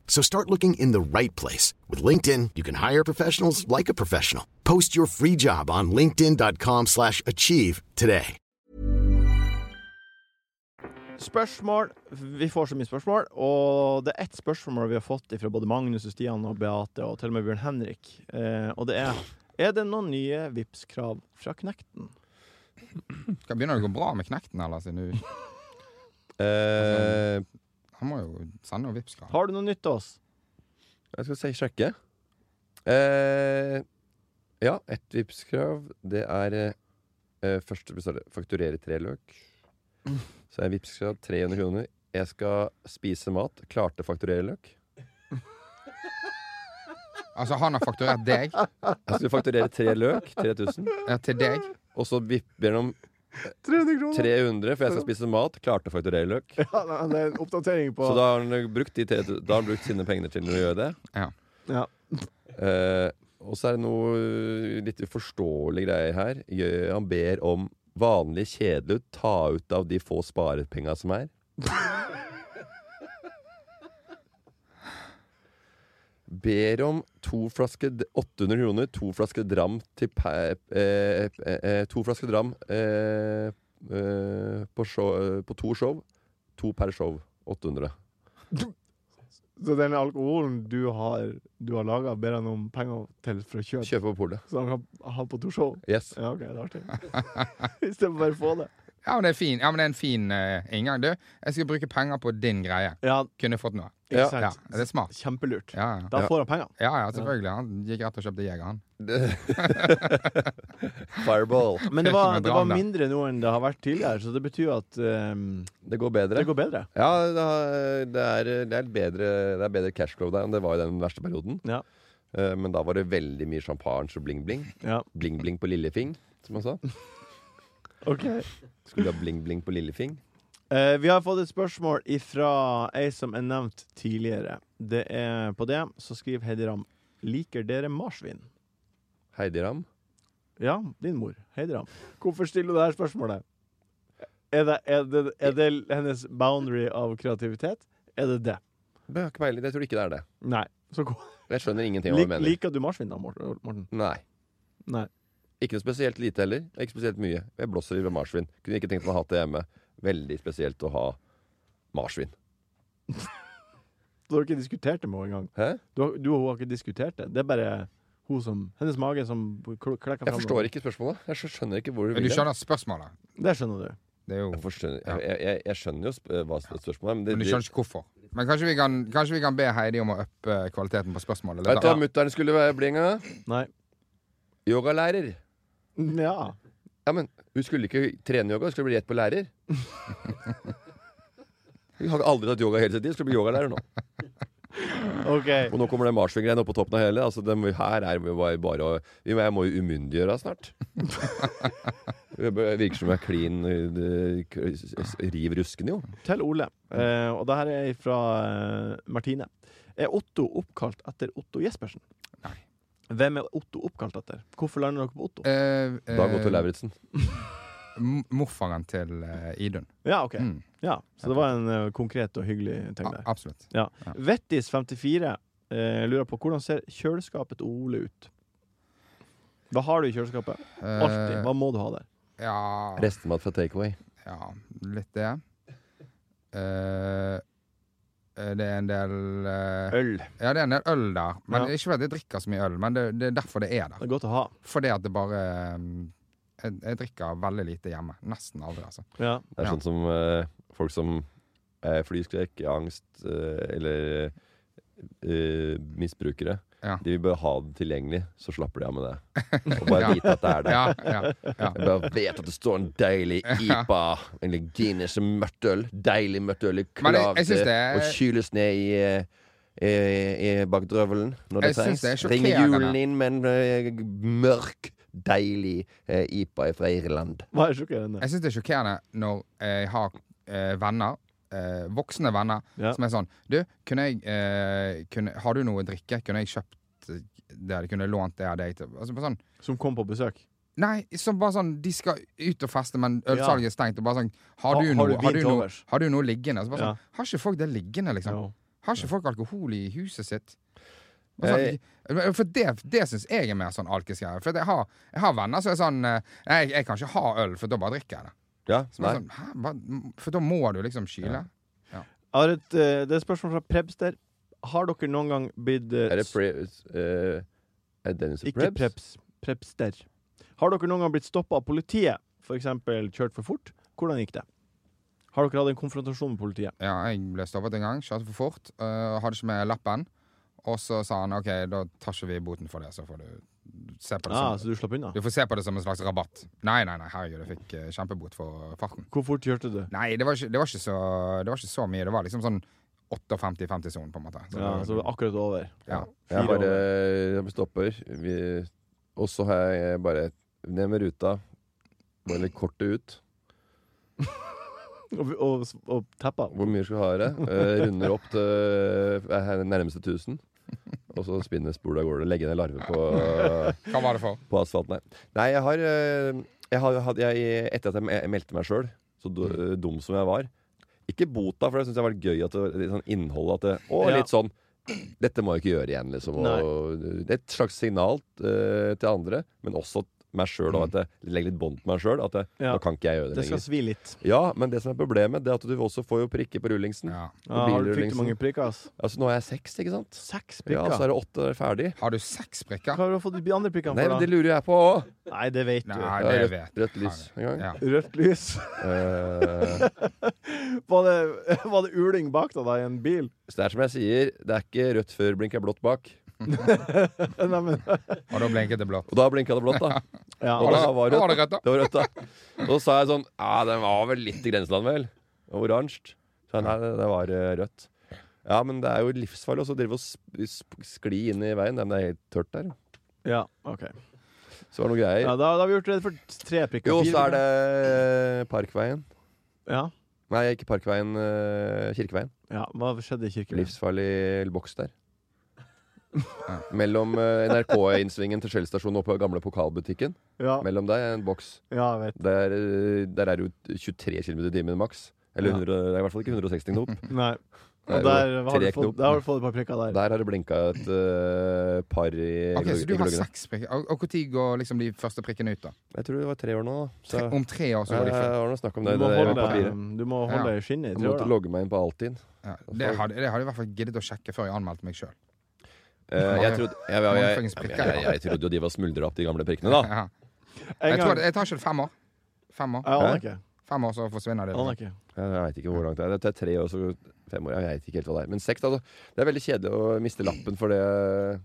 Speaker 5: So start looking in the right place. With LinkedIn, you can hire professionals like a professional. Post your free job on linkedin.com/achieve slash achieve today.
Speaker 2: Spørsmål. Vi får så mye spørsmål, og det er ett spørsmål vi har fått fra både Magnus og Stian og Beate og til og med Bjørn Henrik, eh, og det er Er det noen nye Vipps-krav fra Knekten?
Speaker 4: Skal begynner det å gå bra med Knekten, eller? Siden du,
Speaker 3: Eh,
Speaker 4: han må jo sende noen Vipps-krav.
Speaker 2: Har du noe nytt til oss?
Speaker 3: jeg skal si sjekke. Eh, ja, ett Vipps-krav. Det er eh, eh, Først består det fakturere tre løk. Så er Vipps-krav 300 kroner. Jeg skal spise mat. Klarte fakturere løk.
Speaker 4: Altså, han har fakturert deg
Speaker 3: Jeg skulle fakturere tre løk. 3000.
Speaker 4: eh, til deg.
Speaker 3: Og så vipper han om
Speaker 2: 300 kroner!
Speaker 3: 300, for jeg skal spise mat. Klarte å fakturere løk.
Speaker 2: Ja, nei, det er en oppdatering på
Speaker 3: Så da har han brukt, de 3000 da har han brukt sine penger til å gjøre det.
Speaker 2: ja.
Speaker 3: Eh, og så er det noe eh, litt uforståelige greier her. Gjør- Han ber om vanlig kjedelig ta ut av de få sparepenga som er. Ber om to flasker d- 800 kroner, to flasker dram til per, eh, eh, eh, To flasker dram eh, eh, på, show, eh, på to show. To per show. 800.
Speaker 2: Så den alkoholen du har, du har laga, ber han om penger til for å kjøpe,
Speaker 3: Kjøpe på polet.
Speaker 2: så han kan ha på to show?
Speaker 3: Yes.
Speaker 2: Ja, OK, det er artig. Istedenfor bare å få det.
Speaker 4: Ja, men det er fin, ja, men det er en fin eh, inngang. Du, jeg skal bruke penger på din greie.
Speaker 2: Ja,
Speaker 4: Kunne fått noe.
Speaker 2: ikke
Speaker 4: Ja,
Speaker 2: sant.
Speaker 4: det er smart.
Speaker 2: Kjempelurt.
Speaker 4: Ja, ja.
Speaker 2: Da får han penger.
Speaker 4: ja, ja selvfølgelig. Han gikk rett og kjøpte jeger, han.
Speaker 3: Fireball.
Speaker 2: Men det var,
Speaker 4: Med
Speaker 2: det var
Speaker 4: drama.
Speaker 2: mindre nå enn det har vært tidligere, så det betyr at ehm,
Speaker 3: Det går bedre.
Speaker 2: det går bedre.
Speaker 3: Ja, det har- det er, det er, et bedre, det er bedre cash flow der enn det var i den verste perioden.
Speaker 2: Ja.
Speaker 3: Eh, Men da var det veldig mye champagne og bling-bling.
Speaker 2: ja.
Speaker 3: Bling-bling på lillefing, som han sa.
Speaker 2: Ok.
Speaker 3: Skulle ha bling-bling på lillefing.
Speaker 2: Eh, vi har fått et spørsmål ifra ei som er nevnt tidligere. Det er på det, så skriver Heidi Ram Liker dere marsvin?
Speaker 3: Heidi Ram.
Speaker 2: Ja, din mor. Heidi Ram. Hvorfor stiller du det her spørsmålet? Er det, er, det, er det hennes boundary av kreativitet? Er det det?
Speaker 3: Jeg har ikke peiling. Jeg tror ikke det er det.
Speaker 2: Nei. Så, gå-
Speaker 3: Jeg skjønner ingenting av hva
Speaker 2: lik,
Speaker 3: hun mener.
Speaker 2: liker du marsvin da, Morten? Morten?
Speaker 3: Nei.
Speaker 2: Nei.
Speaker 3: Ikke noe spesielt lite heller. Ikke spesielt mye. Jeg blåser i marsvin. Kunne ikke tenkt meg å ha det hjemme. Veldig spesielt å ha marsvin.
Speaker 2: Du har ikke diskutert det med henne engang.
Speaker 3: Hæ?
Speaker 2: Du, har- du og hun har ikke diskutert det. Det er bare hun som, hennes mage som kl- klekker
Speaker 3: Jeg
Speaker 2: fram.
Speaker 3: forstår ikke spørsmålet. Jeg skjø- skjønner ikke hvor du
Speaker 4: Men du
Speaker 3: vil.
Speaker 4: skjønner spørsmålet?
Speaker 2: Det skjønner du.
Speaker 4: Det er jo,
Speaker 3: Jeg, forstår, jeg, jeg- jeg, jeg skjønner jo sp eh, hva sp- spørsmålet er, men det,
Speaker 4: men du skjønner ikke hvorfor. Men kanskje vi kan, kanskje vi kan be Heidi om å uppe eh, kvaliteten på spørsmålet?
Speaker 3: Vet
Speaker 4: litt,
Speaker 3: du
Speaker 4: da?
Speaker 3: hva mutter'n skulle være, Blinga?
Speaker 2: Nei.
Speaker 3: Yogalærer.
Speaker 2: Ja.
Speaker 3: Ja, men hun skulle ikke trene yoga, hun skulle bli rett på lærer. Hun har aldri tatt yoga hele sitt liv, skulle bli yogalærer nå.
Speaker 2: OK.
Speaker 3: Og nå kommer det marsvin-greiene opp på toppen av hele. Altså, det, må- her er vi bare, bare å- vi må- Jeg må jo umyndiggjøre henne snart. Det virker som jeg er klin eh, k- s- s- Riv rusken, jo.
Speaker 2: Til Ole. Eh, og det her er fra eh, Martine. Er Otto oppkalt etter Otto Jespersen?
Speaker 4: Nei.
Speaker 2: Hvem er Otto oppkalt etter? Hvorfor lander dere på Otto?
Speaker 4: Eh, eh,
Speaker 3: Dag Otto Lauritzen.
Speaker 4: m- Morfaren til eh, Idun.
Speaker 2: Ja, ok.
Speaker 4: Mm.
Speaker 2: Ja, så det var en eh, konkret og hyggelig ting
Speaker 4: Ja,
Speaker 2: der.
Speaker 4: absolutt.
Speaker 2: Vettis54 eh, lurer på hvordan ser kjøleskapet til Ole ut? Hva har du i kjøleskapet? Alltid.
Speaker 4: Eh,
Speaker 2: Hva må du ha der?
Speaker 4: ja,
Speaker 3: Restemat fra takeaway.
Speaker 4: ja, litt det. Eh, eh, det er en del eh,
Speaker 2: Øl.
Speaker 4: Ja, det er en del øl der. Men
Speaker 2: Ja.
Speaker 4: det er Ikke fordi jeg drikker så mye øl, men det, det er derfor det er der.
Speaker 2: Det er godt å ha.
Speaker 4: Fordi at det bare um, jeg, jeg drikker veldig lite hjemme. Nesten aldri, altså.
Speaker 2: Ja.
Speaker 3: Det er
Speaker 4: Ja.
Speaker 3: sånn som eh, folk som er flyskrekk, angst eh, eller eh, misbrukere.
Speaker 4: Ja.
Speaker 3: De vil bare ha det tilgjengelig, så slapper de av med det. Og bare
Speaker 4: Ja.
Speaker 3: vite at det er der.
Speaker 4: Ja, ja, ja.
Speaker 3: Jeg bare vet at det står en deilig IPA, en Guinness og mørkt øl. Deilig mørkt øl i
Speaker 4: Men jeg- jeg
Speaker 3: klavt
Speaker 4: synes det er-
Speaker 3: og kyles ned i eh, i, i bakdrøvelen når det
Speaker 4: Jeg synes
Speaker 3: trengs.
Speaker 4: det er
Speaker 3: Ringer
Speaker 4: sjokkerende.
Speaker 3: julen inn med en eh, mørk, deilig eh, IPA fra Irland.
Speaker 2: Hva er sjokkerende?
Speaker 4: Jeg syns det er sjokkerende når jeg har eh, venner, eh, voksne venner,
Speaker 2: Ja.
Speaker 4: som er sånn Du, kunne jeg eh, kunne, Har du noe å drikke? Kunne jeg kjøpt eh, det? eller Kunne jeg lånt det av deg? til- Altså, bare sånn,
Speaker 2: Som kom på besøk?
Speaker 4: Nei, som bare sånn De skal ut og feste, men ølsalget er stengt. Og bare sånn Har
Speaker 2: Ha-
Speaker 4: du,
Speaker 2: har
Speaker 4: noe,
Speaker 2: du
Speaker 4: har
Speaker 2: vin
Speaker 4: du,
Speaker 2: til
Speaker 4: noe,
Speaker 2: overs?
Speaker 4: har du noe liggende? Så bare
Speaker 2: Ja.
Speaker 4: sånn, har ikke folk det liggende, liksom?
Speaker 2: Jo.
Speaker 4: Har ikke folk alkohol i huset sitt? Bare Sånn,
Speaker 2: Eh.
Speaker 4: men for det, det syns jeg er mer sånn alkisgreie. For jeg har, jeg har venner som er sånn eh, Nei, jeg, jeg kan ikke ha øl, for da bare drikker jeg det.
Speaker 3: Ja,
Speaker 4: Så bare sånn, Hæ? Hva? For da må du liksom kyle.
Speaker 2: Jeg har et, eh, det er et spørsmål fra Prebster. Har dere noen gang blitt eh,
Speaker 3: Er det pre... eh, er Dennis
Speaker 2: Ikke preps. Prepster. Har dere noen gang blitt stoppa av politiet? F.eks. kjørt for fort? Hvordan gikk det? Har dere hatt en konfrontasjon med politiet?
Speaker 4: Ja, jeg ble stoppet en gang, kjørte for fort, øh, hadde ikke med lappen. Og så sa han OK, da tar ikke vi boten for det, så får du se på det
Speaker 2: Ah,
Speaker 4: som
Speaker 2: så du slapp unna?
Speaker 4: Du får se på det som en slags rabatt. Nei, nei, nei, herregud, jeg fikk eh, kjempebot for farten.
Speaker 2: Hvor fort kjørte du?
Speaker 4: Nei, det var ikke, det var ikke, så, det var ikke så mye. Det var liksom sånn 58-50-sonen, på en måte. Så
Speaker 2: Ja,
Speaker 4: det-
Speaker 2: så akkurat over.
Speaker 4: ja.
Speaker 3: Jeg eh,
Speaker 2: Fire
Speaker 3: bare jeg stopper. Vi, og så har jeg bare ned med ruta. Bare litt kortet ut.
Speaker 2: Og, og, og teppa.
Speaker 3: Hvor mye skal jeg ha i det? Eh, runder opp til eh, nærmeste 1000. Og så spinner spolet av gårde. Legge ned larver på,
Speaker 4: Hva var det for?
Speaker 3: på asfalten her. Nei, jeg har, eh, jeg har hadde jeg, Etter at jeg me- meldte meg sjøl, så du- eh, dum som jeg var Ikke bota, for det syns jeg var gøy at det, var litt sånn innhold at det, Og
Speaker 2: Ja.
Speaker 3: litt sånn Dette må jeg ikke gjøre igjen, liksom. Og, det er et slags signal eh, til eh, andre, men også meg sjøl og at jeg legger litt bånd på meg sjøl. At jeg,
Speaker 2: Ja.
Speaker 3: nå kan ikke jeg gjøre det
Speaker 2: Det skal
Speaker 3: lenger.
Speaker 2: svi litt.
Speaker 3: Ja, men det som er problemet, det er at du også får jo prikker på rullingsen.
Speaker 4: Ja.
Speaker 3: Og
Speaker 2: Ja, har du fryktelig
Speaker 3: bilrullingsen.
Speaker 2: mange prikker, ass.
Speaker 3: Altså, nå er jeg seks, ikke sant?
Speaker 2: Seks
Speaker 3: Ja, så
Speaker 2: prikker?
Speaker 3: er det åtte ferdig.
Speaker 4: Har du seks
Speaker 2: Hva
Speaker 4: prikker?
Speaker 2: har du fått de andre prikkene
Speaker 3: Nei, men
Speaker 2: for,
Speaker 3: det lurer jeg på òg.
Speaker 2: da? Nei, det vet du.
Speaker 4: Nei,
Speaker 3: Ja,
Speaker 4: det
Speaker 3: rødt-
Speaker 4: vet
Speaker 3: rødt lys en gang.
Speaker 4: Ja.
Speaker 2: Rødt lys.
Speaker 3: Eh,
Speaker 2: Var det, var det uling bak deg da, i en bil?
Speaker 3: så det er som jeg sier, det er ikke rødt før blinker blått bak.
Speaker 2: Nei, men
Speaker 4: Og da blinket det blått.
Speaker 3: Og da blinka det blått, da.
Speaker 2: ja.
Speaker 3: Og da
Speaker 4: Da
Speaker 3: var det
Speaker 4: var det
Speaker 3: rødt.
Speaker 4: rødt, da.
Speaker 3: Det var rødt, da. Og så sa jeg sånn Ja, den var vel litt i grenseland, vel? Og Oransje. Så jeg, nei, det det var eh, rødt. Ja, men det er jo livsfarlig også å drive og sp- sp- skli inn i veien. Nei, men Det er helt tørt der.
Speaker 2: ja, ok.
Speaker 3: Så var det noen
Speaker 2: Ja,
Speaker 3: greier.
Speaker 2: da, da har vi gjort rede for tre prikker.
Speaker 3: Jo, så
Speaker 2: Fire
Speaker 3: er det eh,
Speaker 2: prikker.
Speaker 3: Parkveien.
Speaker 2: Ja,
Speaker 3: Nei, ikke Parkveien. eh, Kirkeveien.
Speaker 2: ja. Hva skjedde i kirken?
Speaker 3: Livsfarlig boks der. Mellom eh, NRK-innsvingen til Shell-stasjonen og på gamle pokalbutikken.
Speaker 2: Ja,
Speaker 3: Mellom der er en boks.
Speaker 2: ja, jeg vet.
Speaker 3: Der, eh, der er det jo 23 km i timen maks. Eller
Speaker 2: Ja.
Speaker 3: 100, det er i hvert fall ikke 160 knop.
Speaker 2: Nei.
Speaker 3: Det er
Speaker 2: Og
Speaker 3: jo
Speaker 2: der har, du
Speaker 3: tre
Speaker 2: fått,
Speaker 3: knop.
Speaker 2: der har du fått et par prikker der.
Speaker 3: Der har det blinka et eh, par i
Speaker 4: Ok,
Speaker 3: gløgg-
Speaker 4: Så du
Speaker 3: i
Speaker 4: har
Speaker 3: gløggene.
Speaker 4: seks prikker. Og og når går liksom de første prikkene ut, da?
Speaker 3: Jeg tror det var tre år nå. da. Så
Speaker 4: Tre,
Speaker 3: jeg,
Speaker 4: om tre år så går de
Speaker 3: jeg
Speaker 4: full.
Speaker 3: har noe snakk om
Speaker 2: Du
Speaker 3: det.
Speaker 2: må
Speaker 3: det er
Speaker 2: holde,
Speaker 3: papiret.
Speaker 2: du må holde i skinnet i
Speaker 3: Jeg
Speaker 2: tre år,
Speaker 3: måtte
Speaker 2: da.
Speaker 3: logge meg inn på Altinn.
Speaker 4: Ja, det, hadde, det hadde jeg i hvert fall giddet å sjekke før jeg anmeldte meg sjøl.
Speaker 3: Eh, jeg, trodde, jeg, jeg, jeg,
Speaker 4: Mange fuckings
Speaker 3: jeg,
Speaker 4: prikker,
Speaker 3: jeg, jeg trodde jo de var smuldra opp, de gamle prikkene, da.
Speaker 4: Ja.
Speaker 2: En
Speaker 4: Jeg, tror det-
Speaker 2: gang. Eh.
Speaker 4: jeg tar ikke det fem år. Fem år,
Speaker 2: Jeg aner ikke.
Speaker 4: fem år så forsvinner det.
Speaker 2: Jeg aner ikke.
Speaker 3: Jeg veit ikke hvor langt det er. Det er tre år, så fem år. Jeg vet ikke helt hva det er. Men seks, altså. Det er veldig kjedelig å miste lappen for det eh,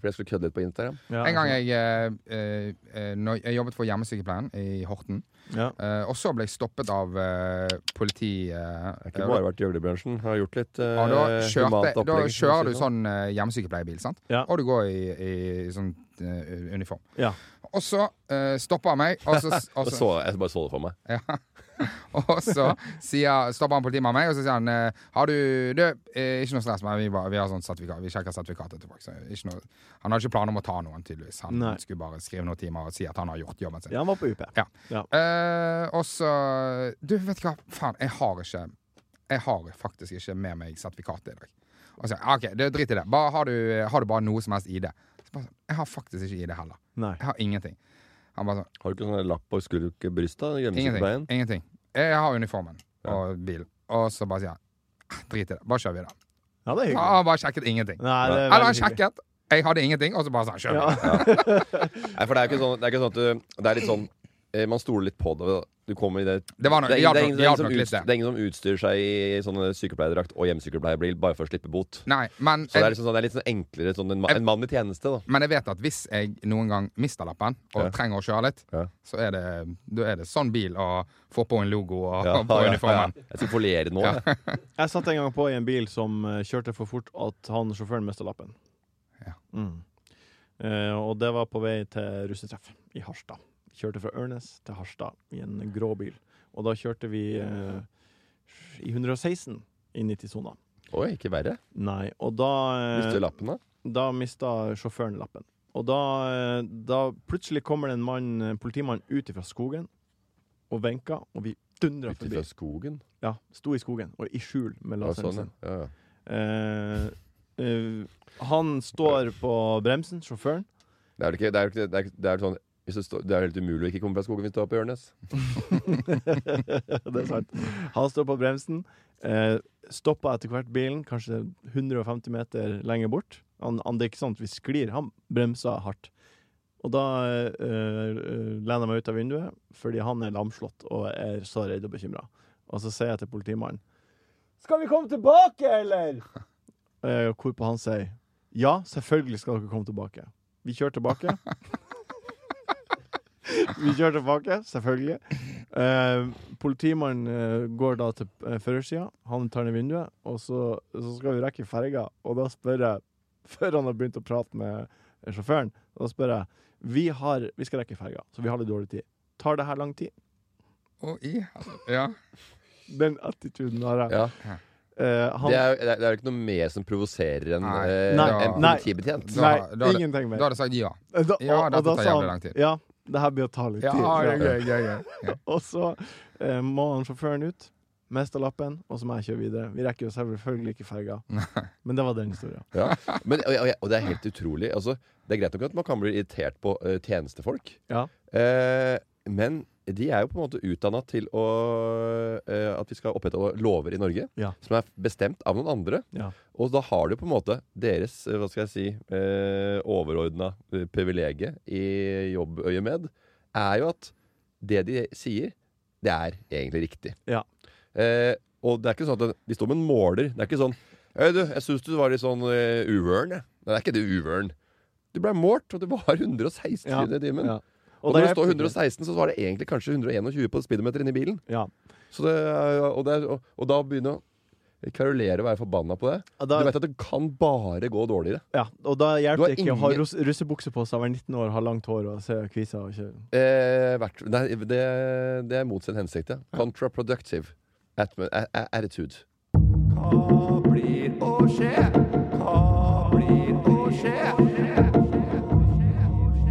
Speaker 3: Fordi jeg skulle kødde litt på Instagram.
Speaker 2: Ja,
Speaker 4: En gang jeg, eh, eh, eh, når jeg jobbet for hjemmesykepleien i Horten,
Speaker 2: Ja.
Speaker 4: eh, og så ble jeg stoppet av eh, politi... eh,
Speaker 3: Jeg har ikke
Speaker 4: eh,
Speaker 3: bare vært i gjøglerbransjen. Jeg Har gjort litt eh,
Speaker 4: Ja, da, kjørte,
Speaker 3: humant
Speaker 4: da
Speaker 3: opplegg. for å si
Speaker 4: kjører
Speaker 3: det
Speaker 4: du sånn eh, hjemmesykepleierbil, sant?
Speaker 2: Ja.
Speaker 4: Og du går i, i sånn eh, uniform.
Speaker 2: Ja.
Speaker 4: Og så eh, stopper han meg, og så, og så,
Speaker 3: Jeg, så, jeg bare så det for meg.
Speaker 4: ja. og så sier, stopper han politimannen meg, og så sier han eh, Har du, du eh, Ikke noe stress, men vi, bare, vi har sånn sertifikat, vi sjekker sertifikatet tilbake. Så ikke noe, han hadde ikke planer om å ta noen, tydeligvis. Han
Speaker 2: Nei.
Speaker 4: skulle bare skrive noen timer og si at han har gjort jobben sin.
Speaker 2: Ja, han var på UP.
Speaker 4: Ja.
Speaker 2: Ja.
Speaker 4: Eh, og så Du, vet du hva? Faen, jeg har ikke Jeg har faktisk ikke med meg sertifikatet i dag. Og så, ok, det Drit i det. Bare, har, du, har du bare noe som helst ID? Så bare sånn, jeg har faktisk ikke ID heller.
Speaker 2: Nei.
Speaker 4: Jeg har ingenting. Han bare sånn
Speaker 3: Har du ikke sånn lapp på skulk brystet?
Speaker 4: Ingenting.
Speaker 3: Grenseveien?
Speaker 4: ingenting. Jeg har uniformen og bilen. Og så bare sier han "Ah, Drit i det. Bare kjør videre.
Speaker 2: Ja, det er
Speaker 4: Han
Speaker 2: hyggelig.
Speaker 4: har bare sjekket ingenting.
Speaker 2: Nei, det er
Speaker 4: Eller han
Speaker 2: veldig hyggelig.
Speaker 4: sjekket. Jeg hadde ingenting, og så bare sa han kjør
Speaker 2: Ja.
Speaker 4: videre.
Speaker 3: Nei, for det er jo ikke sånn, det er ikke sånn at du Det er litt sånn eh, Man stoler litt på det. da. Du kommer i det
Speaker 4: Det var nok-
Speaker 3: det er,
Speaker 4: hjalp
Speaker 3: det er
Speaker 4: nok-
Speaker 3: ingen, det er
Speaker 4: hjalp
Speaker 3: ingen som
Speaker 4: nok litt,
Speaker 3: utstyr,
Speaker 4: det.
Speaker 3: det er ingen som utstyrer seg i sånne sykepleierdrakt og hjemmesykepleierbil bare for å slippe bot.
Speaker 4: Nei, men
Speaker 3: Så det
Speaker 4: jeg-
Speaker 3: er, liksom sånn, det er litt sånn enklere sånn en, ma
Speaker 4: Jeg-
Speaker 3: en mann i tjeneste, da.
Speaker 4: Men jeg vet at hvis jeg noen gang mister lappen og
Speaker 3: Ja.
Speaker 4: trenger å kjøre litt,
Speaker 3: Ja.
Speaker 4: så er det, da er det sånn bil å få på en logo og
Speaker 3: Ja,
Speaker 4: på
Speaker 3: ja,
Speaker 4: uniformen.
Speaker 3: ja. Jeg skal foliere nå. jeg.
Speaker 2: Jeg satt en gang på i en bil som eh, kjørte for fort at han sjåføren mista lappen.
Speaker 4: Ja.
Speaker 2: Mm. Eh, og det var på vei til russetreff i Harstad. Kjørte fra Ørnes til Harstad i en grå bil. Og da kjørte vi eh, i 116 i 90-sona.
Speaker 3: Oi, ikke verre.
Speaker 2: Nei, og da eh,
Speaker 3: Mister du lappen, da?
Speaker 2: da mista sjåføren lappen. Og da, eh, da plutselig kommer det en mann, en politimann ut fra skogen og venker, og vi dundra
Speaker 3: Ut
Speaker 2: forbi.
Speaker 3: ifra skogen?
Speaker 2: Ja, sto i skogen og i skjul med
Speaker 3: Ja,
Speaker 2: laseren
Speaker 3: sånn, ja.
Speaker 2: sin.
Speaker 3: Ja, ja.
Speaker 2: Eh, eh, han står på bremsen, sjåføren.
Speaker 3: Det er jo ikke, det er jo ikke, det er, ikke- det er jo sånn hvis det, står, det er jo helt umulig å ikke komme fra skogen hvis du er på Ørnes.
Speaker 2: det er sant. Han står på bremsen. Eh, stopper etter hvert bilen, kanskje 150 meter lenger bort. Han, han, det er ikke sånn at vi sklir, han bremser hardt. Og da eh, eh, lener jeg meg ut av vinduet, fordi han er lamslått og er så redd og bekymra. Og så sier jeg til politimannen Skal vi komme tilbake, eller? Eh, hvorpå han sier Ja, selvfølgelig skal dere komme tilbake. Vi kjører tilbake. vi kjører tilbake, selvfølgelig. Eh, politimannen eh, går da til eh, førersida, han tar ned vinduet, og så, så skal vi rekke ferga. Og da spør jeg, før han har begynt å prate med eh, sjåføren, da spør jeg Vi, har, vi skal rekke ferga, så vi har litt dårlig tid. Tar det her lang tid?
Speaker 4: Å, i hel- ja.
Speaker 2: Den attituden har jeg.
Speaker 3: Ja.
Speaker 2: Eh, han,
Speaker 3: Det er jo det er- det er jo ikke noe mer som provoserer enn
Speaker 4: Nei.
Speaker 3: eh,
Speaker 2: Nei.
Speaker 3: en
Speaker 2: Nei.
Speaker 3: politibetjent.
Speaker 4: Da-
Speaker 2: nei,
Speaker 4: da er det-
Speaker 2: ingenting
Speaker 4: Da
Speaker 2: mer.
Speaker 4: hadde jeg sagt ja.
Speaker 2: Eh, da-
Speaker 4: Ja,
Speaker 2: og-
Speaker 4: dette
Speaker 2: og da
Speaker 4: tar
Speaker 2: sa
Speaker 4: jævlig
Speaker 2: han,
Speaker 4: lang tid.
Speaker 2: Ja, det her blir å ta litt
Speaker 4: Ja,
Speaker 2: tid.
Speaker 4: ja, ja, ja, ja.
Speaker 2: Og så eh, må han sjåføren ut. Mista lappen, og så må jeg kjøre videre. Vi rekker jo selvfølgelig ikke ferga. Men det var den historien.
Speaker 3: Ja. Men, og, og, og det er helt utrolig. Altså, det er greit nok at man kan bli irritert på eh, tjenestefolk,
Speaker 2: Ja.
Speaker 3: eh, men de er jo på en måte utdanna til å, eh, at vi skal opprettholde lover i Norge,
Speaker 2: Ja.
Speaker 3: som er bestemt av noen andre.
Speaker 2: Ja.
Speaker 3: Og da har du på en måte deres eh, hva skal jeg si, eh, overordna eh, privilegiet i jobbøyemed, er jo at det de sier, det er egentlig riktig.
Speaker 2: Ja.
Speaker 3: Eh, og det er ikke sånn at de står med en måler. Det er ikke sånn Hei, du, jeg syns du var litt sånn eh, uvøren, jeg. Nei, det er ikke det uvøren. Du ble målt, og det var 116
Speaker 2: Ja.
Speaker 3: i timen.
Speaker 2: Ja.
Speaker 3: Og,
Speaker 2: da
Speaker 3: når det
Speaker 2: jeg-
Speaker 3: står 116, så var det egentlig kanskje 121 på speedometeren inne i bilen.
Speaker 2: Ja.
Speaker 3: Så det, er- og, det, er- og, og da begynner å karolere og være forbanna på det.
Speaker 2: Og da-
Speaker 3: Du vet at det kan bare gå dårligere.
Speaker 2: Ja, og da
Speaker 3: Du har
Speaker 2: hjelper det ikke å ha
Speaker 3: ingen-
Speaker 2: russ, russebukse på seg, være 19 år, ha langt hår og se kviser og kjøre.
Speaker 3: Eh, hvert, nei, det, det er mot sin hensikt. ja. Contraproductive at, a- a- attitude.
Speaker 6: Hva blir å skje? Hva blir å skje?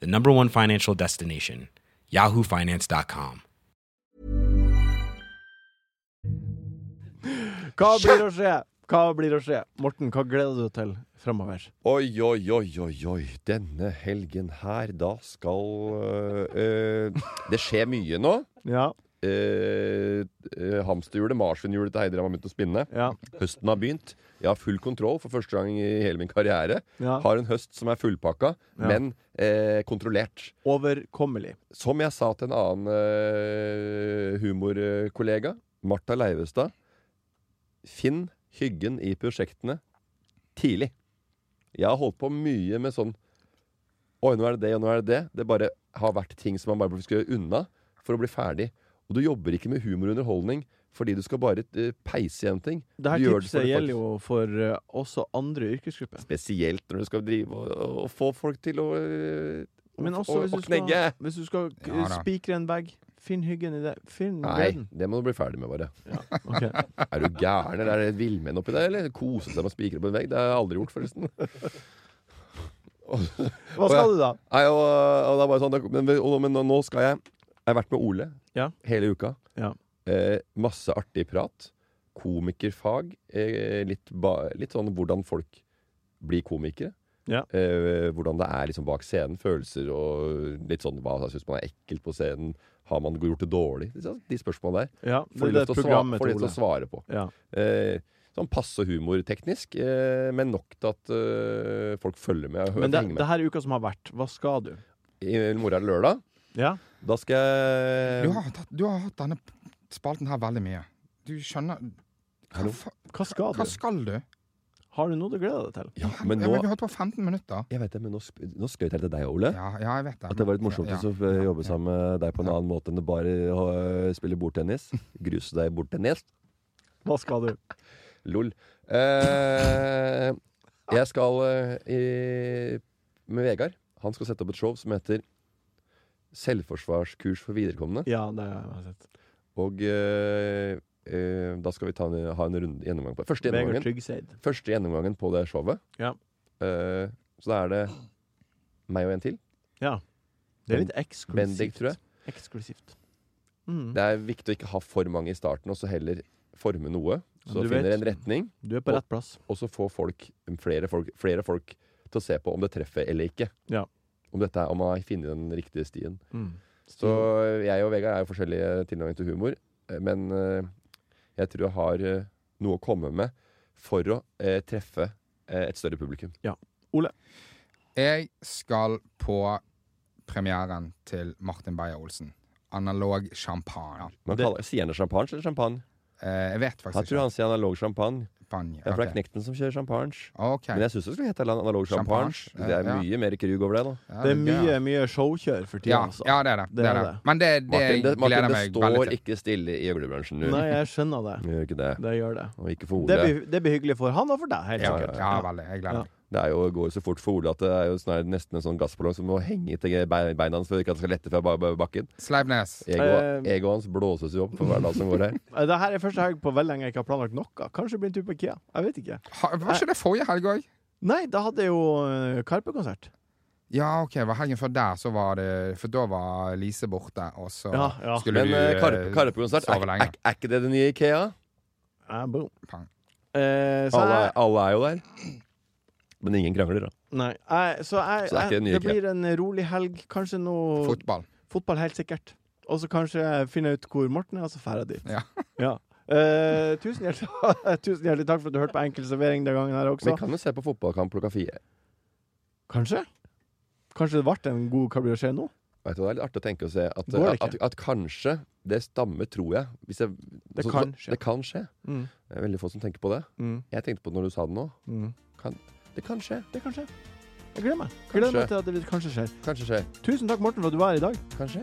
Speaker 7: the number one financial destination, yahoofinance.com.
Speaker 2: Hva blir å skje? Hva blir å skje? Morten, hva gleder du deg til fremover?
Speaker 3: Oi, oi, oi, oi, oi. Denne helgen her, da skal øh, øh, Det skjer mye nå.
Speaker 2: Ja,
Speaker 3: Eh, eh, hamsterhjulet, marsvinhjulet til Heidram har begynt å spinne.
Speaker 2: ja,
Speaker 3: Høsten har begynt. Jeg har full kontroll for første gang i hele min karriere.
Speaker 2: ja.
Speaker 3: Har en høst som er fullpakka,
Speaker 2: Ja.
Speaker 3: men eh, kontrollert.
Speaker 2: Overkommelig.
Speaker 3: Som jeg sa til en annen eh, humorkollega, Martha Leivestad Finn hyggen i prosjektene tidlig. Jeg har holdt på mye med sånn Oi, nå er det det, og nå er det det. Det bare har vært ting som man bare skal gjøre unna for å bli ferdig. Og du jobber ikke med humor og underholdning fordi du skal bare eh, peise igjen ting.
Speaker 2: Dette
Speaker 3: Du gjør det for
Speaker 2: tipset
Speaker 3: det
Speaker 2: gjelder jo for eh, også andre yrkesgrupper.
Speaker 3: Spesielt når du skal drive og, og få folk til å eh,
Speaker 2: Men også
Speaker 3: og-
Speaker 2: hvis
Speaker 3: og
Speaker 2: du skal,
Speaker 3: knegge.
Speaker 2: hvis du skal eh,
Speaker 4: Ja da.
Speaker 2: spikre en vegg, finn hyggen i det. Finn
Speaker 3: Nei,
Speaker 2: gleden.
Speaker 3: det må du bli ferdig med, bare.
Speaker 2: Ok.
Speaker 3: Er du gæren, eller er det villmenn oppi der? Eller kose seg med å spikre på en vegg? Det har jeg aldri gjort, forresten.
Speaker 2: Hva skal du da?
Speaker 3: Nei, og, og det er bare sånn, det- men, og, men nå skal jeg Jeg har vært med Ole
Speaker 2: Ja.
Speaker 3: hele uka.
Speaker 2: Ja.
Speaker 3: Eh, masse artig prat. Komikerfag. Eh, litt, ba, litt sånn hvordan folk blir komikere.
Speaker 2: Ja.
Speaker 3: Eh, hvordan det er liksom bak scenen. Følelser og litt sånn hva syns man er ekkelt på scenen. Har man gjort det dårlig? De spørsmålene der
Speaker 2: Ja,
Speaker 3: får
Speaker 2: det er
Speaker 3: de lov
Speaker 2: det
Speaker 3: til å svare-
Speaker 2: programmet
Speaker 3: får de
Speaker 2: til Ole.
Speaker 3: lov til å svare på.
Speaker 2: Ja.
Speaker 3: Eh, sånn passe humorteknisk, eh, men nok til at eh, folk følger med. Og hører,
Speaker 2: Men det,
Speaker 3: henger med.
Speaker 2: det her er uka som har vært. Hva skal du?
Speaker 3: I morgen er det lørdag.
Speaker 2: Ja,
Speaker 3: Da skal jeg
Speaker 4: Du har, tatt, du har hatt denne spalten her veldig mye. Du skjønner Hva, fa-
Speaker 2: hva skal
Speaker 4: hva
Speaker 2: du?
Speaker 4: skal du?
Speaker 2: Har du noe du gleder deg til?
Speaker 3: ja, men
Speaker 4: Ja,
Speaker 3: nå,
Speaker 4: Vi har holdt på 15 minutter.
Speaker 3: Jeg vet det, men nå, sp nå skrøt jeg til deg, Ole.
Speaker 4: Ja, ja, jeg vet det.
Speaker 3: At det var litt morsomt
Speaker 4: Ja.
Speaker 3: å eh, jobbe sammen med deg på en annen måte enn å bare eh, spille bordtennis. Gruse deg i bordtennis.
Speaker 2: Hva skal du?
Speaker 3: Lol. Eh, jeg skal eh, i, med Vegard. Han skal sette opp et show som heter Selvforsvarskurs for viderekomne.
Speaker 2: Ja, det har jeg sett. Og
Speaker 3: Og eh, eh, da skal vi ta en, ha en runde, gjennomgang på det. Første
Speaker 2: Vegard
Speaker 3: gjennomgangen,
Speaker 2: Tryggeseid.
Speaker 3: første gjennomgangen på det showet.
Speaker 2: Ja.
Speaker 3: Eh, så da er det meg og en til.
Speaker 2: Det er litt eksklusivt.
Speaker 3: Bendik, tror jeg.
Speaker 2: Eksklusivt. Mm.
Speaker 3: Det er viktig å ikke ha for mange i starten, og så heller forme noe.
Speaker 2: Ja,
Speaker 3: Så
Speaker 2: du
Speaker 3: finner
Speaker 2: vet.
Speaker 3: en retning,
Speaker 2: Du er på rett plass.
Speaker 3: og så får folk flere, folk flere folk til å se på om det treffer eller ikke.
Speaker 2: Ja.
Speaker 3: Om, dette, er- om man har funnet den riktige stien.
Speaker 2: Mm.
Speaker 3: Så jeg og Vegard er jo forskjellige tilnærminger til humor, eh, men eh, jeg tror jeg har eh, noe å komme med for å eh, treffe eh, et større publikum.
Speaker 2: Ole?
Speaker 4: Jeg skal på premieren til Martin Beyer-Olsen. Analog champagne.
Speaker 3: Man kaller, sier han det champagne eller champagne?
Speaker 4: Eh, jeg vet faktisk
Speaker 3: Jeg tror han sier analog champagne.
Speaker 4: Champagne,
Speaker 3: Ja, for det
Speaker 4: ok.
Speaker 3: er Knekten som kjører champagne.
Speaker 4: Ok.
Speaker 3: Men jeg syns det skulle hete analog champagne.
Speaker 4: Champagne, eh,
Speaker 3: Det er
Speaker 4: ja.
Speaker 3: mye mer krug over det, da.
Speaker 4: Ja,
Speaker 2: Det er
Speaker 4: det-
Speaker 2: mye, mye showkjør for tida,
Speaker 4: Ja,
Speaker 2: altså.
Speaker 4: ja, det er det. det, er det. Men det, det
Speaker 3: Martin, det, Martin,
Speaker 4: gleder
Speaker 3: det
Speaker 4: jeg meg veldig
Speaker 3: står
Speaker 4: til.
Speaker 3: ikke stille i øglebransjen nå.
Speaker 2: Nei, jeg skjønner det.
Speaker 3: Gjør ikke det.
Speaker 2: Det gjør det.
Speaker 3: Og ikke for Ole.
Speaker 2: Det blir, det blir hyggelig for han og for deg, helt
Speaker 3: Ja,
Speaker 2: sikkert.
Speaker 4: Ja, veldig. Jeg gleder meg.
Speaker 3: Det er jo, går jo så fort for Ole at det er jo snart nesten en sånn gassballong som må henge til beina hans for ikke at det skal lette fra ba- ba- bakken.
Speaker 4: Sleipnes.
Speaker 3: Ego, egoet hans blåses jo opp for hver dag som går her.
Speaker 2: Eh, Det her er første helg på veldig lenge jeg ikke har planlagt noe. Kanskje blir en tur på IKEA. Jeg vet ikke.
Speaker 4: Ha- Var ikke det forrige helg òg?
Speaker 2: Nei, da hadde jeg jo eh, Karpe-konsert.
Speaker 4: Ja, OK. Var helgen før der, så var det For da var Lise borte, og så
Speaker 2: Ja, ja.
Speaker 4: skulle
Speaker 3: Men
Speaker 4: du
Speaker 3: eh,
Speaker 4: eh,
Speaker 3: Karpe- Karpe-konsert,
Speaker 4: sove
Speaker 3: er,
Speaker 4: lenge.
Speaker 3: er, er ikke det det nye Ikea?
Speaker 2: Eh, boom.
Speaker 4: Pang.
Speaker 2: Eh, så jeg,
Speaker 3: Alle, er- alle er jo der. Men ingen krangler, da.
Speaker 2: nei, jeg, så jeg,
Speaker 3: Så det er ikke
Speaker 2: jeg,
Speaker 3: en ny
Speaker 2: det
Speaker 3: IKEA.
Speaker 2: blir en rolig helg. Kanskje noe
Speaker 4: Fotball.
Speaker 2: fotball, helt sikkert. Og så kanskje jeg finner ut hvor Morten er, og så drar jeg dit.
Speaker 4: Ja.
Speaker 2: Ja. Eh, tusen, hjertelig, tusen hjertelig takk for at du hørte på Enkel servering den gangen her
Speaker 3: Vi
Speaker 2: også.
Speaker 3: kan jo se på fotballkamp klokka fire.
Speaker 2: Kanskje? Kanskje det ble en god Hva blir det å skje nå?
Speaker 3: Vet du, hva, det er litt artig å tenke og se at,
Speaker 2: Går det
Speaker 3: at, at, kanskje det stammer, tror jeg. Hvis jeg altså,
Speaker 2: Det
Speaker 3: så- så-
Speaker 2: kan skje.
Speaker 3: det kan skje.
Speaker 2: Mm.
Speaker 3: Det er veldig få som tenker på det.
Speaker 2: Mm.
Speaker 3: Jeg tenkte på det når du sa det nå.
Speaker 2: Mm.
Speaker 3: Kan, det kan skje.
Speaker 2: Det kan skje. Jeg gleder meg. Jeg gleder meg
Speaker 3: Kanskje.
Speaker 2: til at det kanskje skjer.
Speaker 3: Kanskje skjer.
Speaker 2: Tusen takk, Morten, for at du var her i dag.
Speaker 3: Kanskje.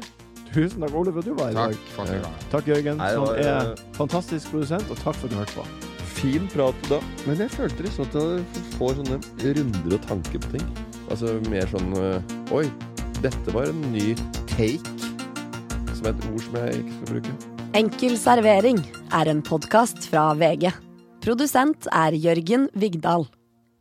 Speaker 2: Tusen takk, Ole, for at du var her i dag.
Speaker 4: Takk for at du kom.
Speaker 2: Takk, Jørgen,
Speaker 3: Nei, det
Speaker 2: som
Speaker 3: var-
Speaker 2: er fantastisk produsent, og takk for at du hørte på.
Speaker 3: Fin prat da. Men jeg følte liksom at jeg får sånne runder og tanker på ting. Altså mer sånn øh, Oi, dette var en ny take. Som er et ord som jeg ikke skal bruke.
Speaker 1: Enkel servering er en podkast fra VG. Produsent er Jørgen Vigdal.